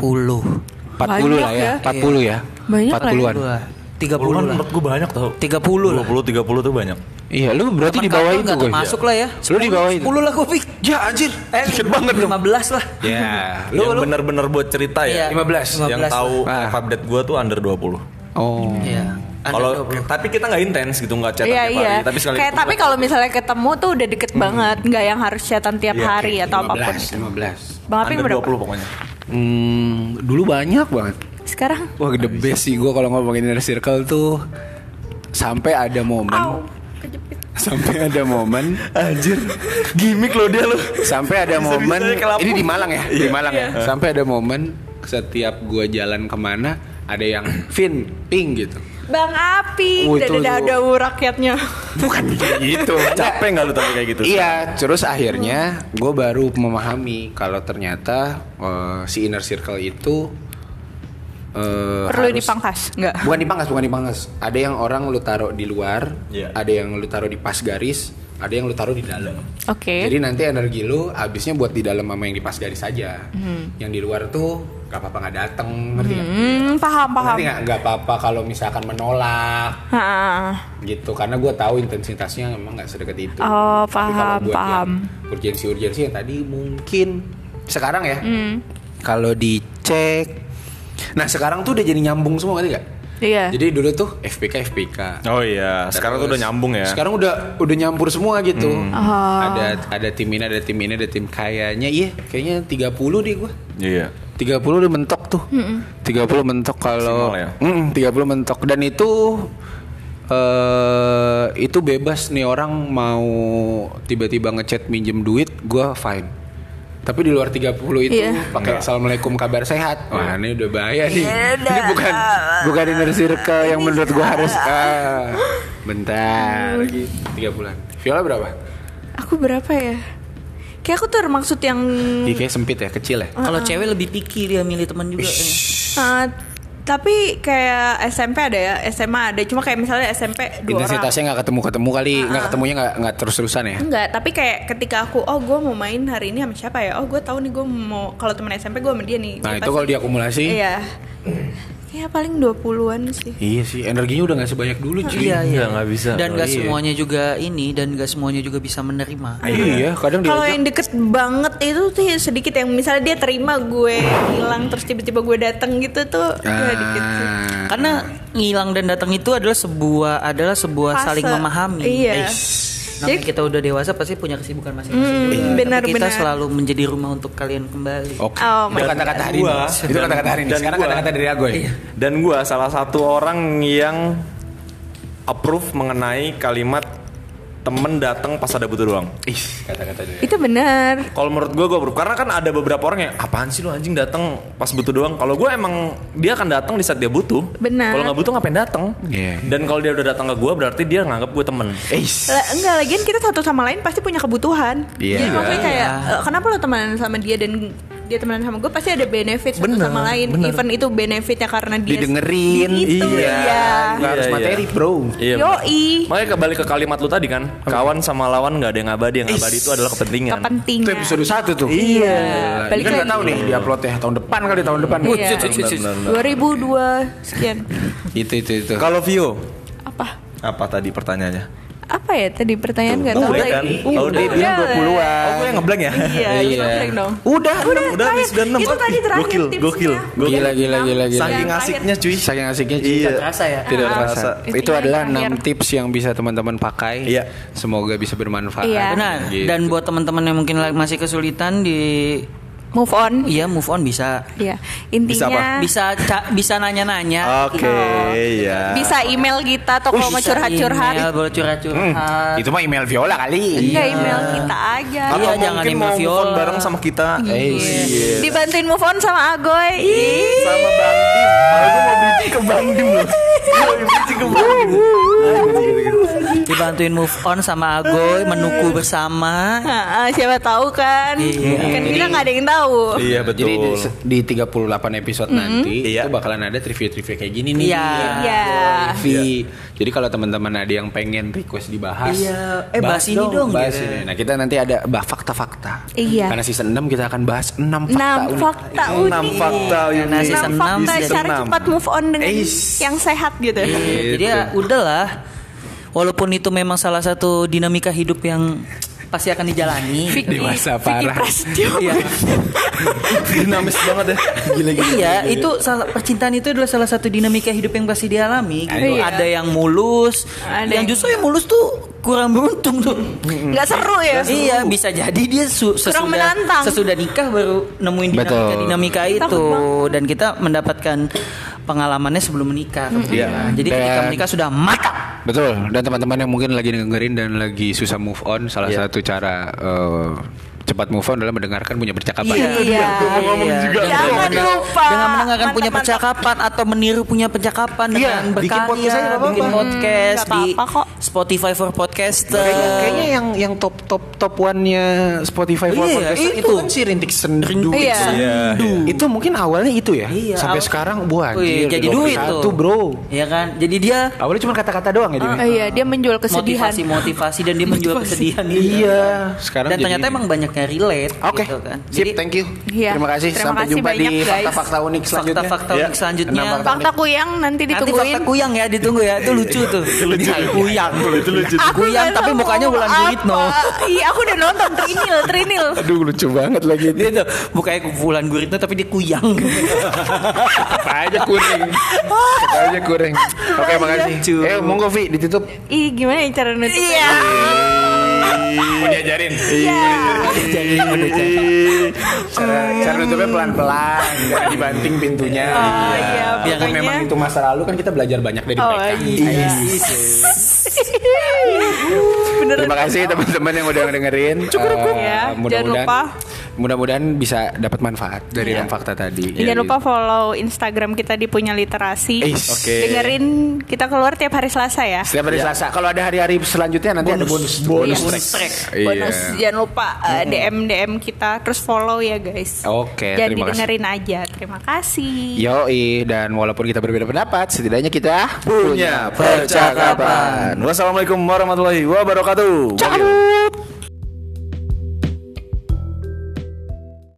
Speaker 1: 40 lah ya,
Speaker 3: ya.
Speaker 1: 40 ya.
Speaker 3: Banyak lah ya.
Speaker 1: 40-an.
Speaker 4: Dua, tiga
Speaker 2: Puluhan
Speaker 4: puluh lah.
Speaker 2: menurut gue banyak tau.
Speaker 4: 30 lah.
Speaker 2: 20 30 tuh banyak.
Speaker 1: Iya, lu berarti di bawah itu gue.
Speaker 4: Masuk lah ya.
Speaker 1: Lu di bawah itu.
Speaker 4: 10 lah gue pik.
Speaker 1: Ya anjir, eh dikit banget dong.
Speaker 4: 15 lah.
Speaker 1: Ya,
Speaker 2: Lu, yang benar-benar buat cerita ya.
Speaker 4: Iya.
Speaker 1: 15.
Speaker 2: Yang
Speaker 4: 15 lah.
Speaker 2: tahu
Speaker 1: Ah.
Speaker 2: update gue tuh under 20.
Speaker 1: Oh.
Speaker 4: Iya. Under
Speaker 2: Kalau
Speaker 4: 20.
Speaker 2: tapi kita nggak intens gitu nggak chat
Speaker 3: Iya
Speaker 2: tiap
Speaker 3: iya.
Speaker 2: hari. Tapi sekali
Speaker 3: kayak
Speaker 2: ketemu-
Speaker 3: tapi kalau misalnya ketemu tuh udah deket
Speaker 1: Hmm.
Speaker 3: banget, nggak yang harus chatan tiap
Speaker 2: Iya,
Speaker 3: hari atau apapun.
Speaker 1: 15, 15.
Speaker 3: Bang Apin
Speaker 2: under
Speaker 3: berapa?
Speaker 2: 20 pokoknya.
Speaker 1: Hmm, dulu banyak banget.
Speaker 3: Sekarang
Speaker 1: Wah, the best sih gue kalau ngomongin inner circle tuh sampai ada momen sampai ada momen
Speaker 2: Anjir. Gimik lo dia lo.
Speaker 1: sampai ada
Speaker 2: Bisa-bisanya
Speaker 1: momen
Speaker 2: ke Lampung.
Speaker 1: ini di Malang ya
Speaker 2: Iya.
Speaker 1: di Malang ya sampai ada momen setiap gua jalan kemana ada yang Vin ping gitu
Speaker 3: Bang Api,
Speaker 1: Oh, itu
Speaker 3: udah
Speaker 1: tuh.
Speaker 3: ada rakyatnya.
Speaker 1: bukan gitu
Speaker 2: Capek nggak lu tapi kayak gitu?
Speaker 1: iya terus akhirnya gue baru memahami kalau ternyata eh, si inner circle itu eh,
Speaker 3: Perlu
Speaker 1: harus-
Speaker 3: dipangkas, nggak?
Speaker 1: bukan dipangkas bukan dipangkas ada yang orang lu taruh di luar
Speaker 2: Iya.
Speaker 1: ada yang lu taruh di pas garis ada yang lu taruh di dalam
Speaker 3: Oke.
Speaker 1: Jadi nanti energi lu habisnya buat di dalam sama yang di pas garis saja. Yang di luar tuh gak apa-apa nggak dateng, ngerti nggak?
Speaker 3: Hmm, paham paham.
Speaker 1: Ngerti nggak? Nggak apa-apa kalau misalkan menolak
Speaker 3: Ha, ha, ha.
Speaker 1: gitu, karena gue tahu intensitasnya emang nggak sedekat itu.
Speaker 3: Oh,
Speaker 1: Tapi kalau
Speaker 3: paham,
Speaker 1: buat
Speaker 3: paham.
Speaker 1: yang Urgensi-urgensi yang tadi mungkin sekarang ya.
Speaker 3: Hmm.
Speaker 1: Kalau dicek, nah sekarang tuh udah jadi nyambung semua ngerti nggak?
Speaker 3: Iya.
Speaker 1: Jadi dulu tuh FPK FPK.
Speaker 2: Oh iya, sekarang tuh
Speaker 1: Terus,
Speaker 2: udah nyambung ya.
Speaker 1: Sekarang udah udah nyampur semua gitu. Ada ada tim ini, ada tim ini, ada tim kayaknya. Iya, kayaknya 30 deh gua.
Speaker 2: Iya.
Speaker 1: 30 udah mentok tuh. 30 mentok kalau
Speaker 2: Maksimal ya?
Speaker 1: Mm, 30 mentok dan itu eh itu bebas nih orang mau tiba-tiba ngechat minjem duit, gua fine. Tapi di luar 30 itu
Speaker 3: Iya.
Speaker 1: pakai assalamualaikum kabar sehat. Iya. Wah, ini udah bahaya nih. Ini bukan bukan inner circle yang menurut gua harus ah, bentar lagi 3 bulan. Viola berapa?
Speaker 3: Aku berapa ya? Kayak aku tuh maksud yang
Speaker 1: Iya kayak sempit ya, kecil ya.
Speaker 4: Kalau cewek lebih picky dia milih teman juga.
Speaker 3: eh, tapi kayak SMP ada ya, SMA ada. Cuma kayak misalnya SMP dua orang. Ah.
Speaker 1: Intensitasnya nggak ketemu-ketemu kali, nggak ketemunya nggak nggak terus-terusan ya.
Speaker 3: Enggak, tapi kayak ketika aku, oh gue mau main hari ini sama siapa ya? Oh gue tahu nih gue mau kalau teman SMP gue sama dia nih.
Speaker 1: Nah,
Speaker 3: Gua
Speaker 1: itu
Speaker 3: pasti-
Speaker 1: kalau diakumulasi
Speaker 3: Iya. Kayak paling 20-an sih.
Speaker 1: Iya sih, energinya udah nggak sebanyak dulu cuy.
Speaker 4: Iya, iya.
Speaker 2: Iya, nggak bisa.
Speaker 4: Dan nggak
Speaker 1: Oh, iya.
Speaker 4: semuanya juga ini dan nggak semuanya juga bisa menerima.
Speaker 1: Iya, kadang
Speaker 3: Kalau
Speaker 1: diajak-
Speaker 3: yang deket banget itu tuh ya sedikit yang misalnya dia terima gue hilang terus tiba-tiba gue datang gitu tuh ya dikit sih. Kan-
Speaker 1: Ah.
Speaker 4: Karena ngilang dan datang itu adalah sebuah adalah sebuah
Speaker 3: Fase.
Speaker 4: Ah. saling memahami.
Speaker 3: Iya.
Speaker 4: Nanti
Speaker 3: Jadi-
Speaker 4: kita udah dewasa pasti punya kesibukan masing-masing.
Speaker 3: Hmm,
Speaker 4: juga. Tapi
Speaker 3: benar,
Speaker 4: kita
Speaker 3: benar.
Speaker 4: selalu menjadi rumah untuk kalian kembali.
Speaker 1: Oke.
Speaker 3: Oh my Iya.
Speaker 1: itu kata-kata hari ini.
Speaker 2: Gua.
Speaker 1: Itu kata-kata hari ini.
Speaker 2: Dan
Speaker 1: Sekarang
Speaker 2: gua.
Speaker 1: kata-kata dari aku ya.
Speaker 2: Dan gua salah satu orang yang approve mengenai kalimat temen datang pas ada butuh doang.
Speaker 1: Ih, kata-kata dari
Speaker 3: Itu benar.
Speaker 2: Kalau menurut gua gua approve karena kan ada beberapa orang yang apaan sih lu anjing datang pas butuh doang. Kalau gua emang dia akan datang di saat dia butuh.
Speaker 3: Benar.
Speaker 2: Kalau nggak butuh ngapain datang?
Speaker 1: Iya.
Speaker 2: Dan kalau dia udah datang ke gua berarti dia nganggap gua temen.
Speaker 1: Ih.
Speaker 3: Lah, enggak lagian kita satu sama lain pasti punya kebutuhan.
Speaker 1: Iya.
Speaker 3: Jadi maksudnya kayak eh, kenapa lo temenan sama dia dan dia temenan sama gue pasti ada benefit satu
Speaker 2: Bener,
Speaker 3: sama lain.
Speaker 2: bener.
Speaker 3: Even itu benefitnya karena dia
Speaker 1: Didengerin.
Speaker 3: Itu,
Speaker 2: Iya.
Speaker 3: iya.
Speaker 1: Nggak harus
Speaker 2: Iya, iya.
Speaker 1: materi, Bro.
Speaker 2: Iya.
Speaker 3: Yoi.
Speaker 2: Makanya kembali ke kalimat lu tadi kan, kawan sama lawan nggak ada yang abadi, yang abadi itu adalah
Speaker 1: Itu
Speaker 2: kepentingan.
Speaker 3: Kepentingan.
Speaker 1: episode 1 tuh.
Speaker 3: Iya.
Speaker 1: Gila, Ini
Speaker 3: Balik
Speaker 1: kan nggak
Speaker 3: lagi.
Speaker 1: tahu nih diuploadnya tahun depan kali tahun depan.
Speaker 3: Iya.
Speaker 1: Cus, cus, cus.
Speaker 3: 2002 sekian.
Speaker 1: Itu itu itu.
Speaker 2: Kalau Vio,
Speaker 3: Apa?
Speaker 2: apa tadi pertanyaannya?
Speaker 3: apa ya tadi pertanyaan nggak tahu
Speaker 2: Udah
Speaker 3: lagi.
Speaker 2: kan?
Speaker 3: Iya,
Speaker 2: Oh, dia bilang
Speaker 3: udah.
Speaker 1: 20-an.
Speaker 2: Oh, gue yang ngeblank ya?
Speaker 3: Iya,
Speaker 1: Iya.
Speaker 3: iya. dong.
Speaker 1: Udah,
Speaker 3: Udah,
Speaker 2: udah
Speaker 3: tayang.
Speaker 2: habis, udah enam.
Speaker 3: Itu tadi terakhir
Speaker 2: Gokil,
Speaker 3: tipsnya.
Speaker 2: gokil, gokil.
Speaker 1: Gila gila gila gila.
Speaker 2: Saking
Speaker 3: Yang
Speaker 2: asiknya cuy.
Speaker 1: Saking asiknya cuy.
Speaker 2: Iya.
Speaker 4: Terasa ya.
Speaker 1: Tidak
Speaker 3: Ah,
Speaker 1: terasa.
Speaker 3: itu
Speaker 1: Itu
Speaker 3: yang
Speaker 1: adalah
Speaker 3: terakhir.
Speaker 1: 6 tips yang bisa teman-teman pakai.
Speaker 2: Iya.
Speaker 1: Semoga bisa bermanfaat.
Speaker 3: Iya.
Speaker 4: Benar.
Speaker 1: Gitu.
Speaker 4: Dan buat teman-teman yang mungkin la- masih kesulitan di
Speaker 3: Move on.
Speaker 4: Iya move on bisa.
Speaker 3: Iya. Intinya bisa,
Speaker 4: Bisa ca- bisa
Speaker 3: Ah,
Speaker 4: nanya-nanya.
Speaker 2: Oke, ya.
Speaker 3: Nah, email kita atau kalau mau
Speaker 4: Bisa email,
Speaker 3: Iya, curhat-curhat.
Speaker 4: boleh curhat-curhat.
Speaker 1: Itu mah email Viola kali.
Speaker 3: Iya, email kita aja.
Speaker 2: Atau
Speaker 4: Iya, jangan
Speaker 2: mungkin
Speaker 4: yang
Speaker 2: mau move on
Speaker 4: Viola.
Speaker 2: bareng sama
Speaker 4: Iya,
Speaker 2: kita.
Speaker 1: Eh,
Speaker 3: Dibantuin move on sama Agoy. Ih.
Speaker 2: Sama Bang Dim. Kalau gue mau bridging ke Bang Dim loh. Gue mau bridging ke Bang Dim.
Speaker 4: Dibantuin move on sama Agoy, menuku bersama.
Speaker 3: Ah, ah, siapa tahu kan?
Speaker 4: Iya.
Speaker 3: Kan kita nggak ada yang tahu.
Speaker 2: Iya, betul.
Speaker 1: Jadi di, di 38 episode nanti
Speaker 2: Iya.
Speaker 1: itu bakalan ada trivia-trivia kayak gini nih.
Speaker 4: Mm-hmm. Iya.
Speaker 3: Iya.
Speaker 1: Trivia. Jadi kalau teman-teman ada yang pengen request dibahas,
Speaker 4: Iya. Eh, bahas ini dong,
Speaker 1: bahas
Speaker 4: gitu.
Speaker 1: ini. Nah, kita nanti ada bah fakta-fakta.
Speaker 3: Iya.
Speaker 1: Karena season 6 kita akan bahas 6 fakta.
Speaker 3: Enam
Speaker 1: unik.
Speaker 3: fakta
Speaker 2: Enam
Speaker 3: unik.
Speaker 2: fakta
Speaker 4: Iya,
Speaker 2: unik.
Speaker 4: nasi
Speaker 3: Enam
Speaker 4: Season enam,
Speaker 3: fakta
Speaker 4: season
Speaker 3: cara
Speaker 2: enam.
Speaker 3: cepat move on dengan
Speaker 1: Eish.
Speaker 3: yang sehat gitu.
Speaker 4: Iya, Jadi ya udahlah. Walaupun itu memang salah satu dinamika hidup yang pasti akan dijalani.
Speaker 1: Dewasa
Speaker 3: Vicky
Speaker 1: parah.
Speaker 3: Prasetyo.
Speaker 4: Iya.
Speaker 2: Dinamis banget ya. Gila gila.
Speaker 4: Iya, itu salah, percintaan itu adalah salah satu dinamika hidup yang pasti dialami. Gitu.
Speaker 3: Iya.
Speaker 4: Ada yang mulus,
Speaker 3: Ada
Speaker 4: yang
Speaker 3: yang-
Speaker 4: justru yang mulus tuh kurang beruntung tuh.
Speaker 3: Nggak seru ya?
Speaker 4: Iya, bisa jadi dia su- sesudah
Speaker 3: Kurang menantang.
Speaker 4: sesudah nikah baru nemuin
Speaker 1: Betul.
Speaker 4: dinamika dinamika itu dan kita mendapatkan pengalamannya sebelum menikah.
Speaker 1: Iya.
Speaker 4: Jadi
Speaker 1: Dan-
Speaker 4: ketika menikah sudah matang.
Speaker 1: Betul. Dan teman-teman yang mungkin lagi dengerin dan lagi susah move on, salah
Speaker 2: Iya.
Speaker 1: satu cara eh, cepat move on adalah mendengarkan punya percakapan.
Speaker 3: Iya.
Speaker 4: Iya,
Speaker 3: Jangan lupa,
Speaker 4: dengan mendengarkan punya
Speaker 3: mantap,
Speaker 4: percakapan atau meniru punya percakapan
Speaker 1: Iya,
Speaker 4: dengan
Speaker 1: bikin
Speaker 4: berkarya,
Speaker 1: podcast aja nggak apa-apa. Hmm,
Speaker 4: bikin podcast
Speaker 3: nggak
Speaker 4: di
Speaker 3: apa-apa kok.
Speaker 4: Spotify for podcaster.
Speaker 1: Kayaknya, kayaknya yang yang top top top one-nya Spotify for
Speaker 4: Iya,
Speaker 1: podcast itu,
Speaker 4: itu.
Speaker 1: kan si Rintik Sendu.
Speaker 4: Rintik
Speaker 3: Iya.
Speaker 2: Iya.
Speaker 1: Itu mungkin awalnya itu ya.
Speaker 4: Iya,
Speaker 1: Sampai
Speaker 4: awal-
Speaker 1: sekarang buah
Speaker 4: Wih,
Speaker 1: anjir.
Speaker 4: jadi duit tuh.
Speaker 1: Satu bro.
Speaker 4: Iya kan? Jadi dia
Speaker 1: Awalnya cuma kata-kata doang ya Dim?
Speaker 3: Eh, iya, dia menjual kesedihan. Iya.
Speaker 4: motivasi-motivasi dan dia menjual kesedihan.
Speaker 1: Iya. Sekarang
Speaker 4: Dan
Speaker 1: jadi
Speaker 4: ternyata
Speaker 1: ini.
Speaker 4: emang banyak yang relate
Speaker 1: Oke,
Speaker 4: gitu kan.
Speaker 1: sip, thank you.
Speaker 3: Iya.
Speaker 1: Terima kasih.
Speaker 3: Terima
Speaker 1: Sampai
Speaker 3: kasih
Speaker 1: jumpa di
Speaker 3: banyak, guys.
Speaker 1: fakta-fakta unik selanjutnya. Ya,
Speaker 4: fakta-fakta
Speaker 2: Iya.
Speaker 4: unik selanjutnya.
Speaker 1: Enam Iya, fakta
Speaker 3: Fakta kuyang nanti
Speaker 4: Nanti fakta
Speaker 3: ditungguin.
Speaker 4: kuyang ya ditunggu ya. Itu lucu tuh.
Speaker 2: lucu.
Speaker 4: Nah, kuyang.
Speaker 2: Itu lucu.
Speaker 3: Aku
Speaker 4: Kuyang
Speaker 3: nggak
Speaker 4: tapi
Speaker 3: tahu
Speaker 4: mukanya
Speaker 3: mau
Speaker 4: bulan
Speaker 3: apa.
Speaker 4: duit no.
Speaker 3: Iya, aku udah nonton Trinil, Trinil.
Speaker 1: Aduh lucu banget lagi ini.
Speaker 4: Dia tuh Gitu. mukanya bulan guritno tapi dia kuyang.
Speaker 1: Apa aja kuring. Apa aja kuring. Oke,
Speaker 3: Iya.
Speaker 1: makasih. Eh, monggo Vi ditutup.
Speaker 3: Ih, gimana ya cara nutup? Iya.
Speaker 1: Mau diajarin.
Speaker 4: Jadi udah jadi.
Speaker 1: Cara, cara nutupnya pelan-pelan, jangan dibanting pintunya.
Speaker 3: Oh iya,
Speaker 4: Biar
Speaker 1: Kan memang
Speaker 3: pokoknya.
Speaker 1: itu masa lalu kan kita belajar banyak dari
Speaker 3: Oh
Speaker 1: mereka.
Speaker 3: iya.
Speaker 1: Terima kasih teman-teman yang udah dengerin.
Speaker 3: Cukup, cukup. Ya, jangan
Speaker 1: mudah-mudahan
Speaker 3: lupa. Iya.
Speaker 1: mudah-mudahan bisa dapat manfaat dari enam fakta tadi. Iya.
Speaker 3: Jangan lupa follow Instagram kita di Punya Literasi.
Speaker 1: Eish.
Speaker 2: Oke.
Speaker 3: Dengerin kita keluar tiap hari Selasa ya.
Speaker 1: Setiap hari Eh, Selasa. Kalau ada hari-hari selanjutnya nanti ada bonus
Speaker 2: bonus
Speaker 1: track.
Speaker 3: track.
Speaker 1: Iya.
Speaker 3: Bonus. Jangan lupa uh, DM DM kita terus follow ya guys.
Speaker 1: Oke,
Speaker 3: Jadi
Speaker 1: terima kasih.
Speaker 3: dengerin aja. Terima kasih.
Speaker 1: Yoi, dan walaupun kita berbeda pendapat, setidaknya kita
Speaker 2: Punya percakapan. Wassalamualaikum warahmatullahi wabarakatuh. Ciao.
Speaker 1: Ciao.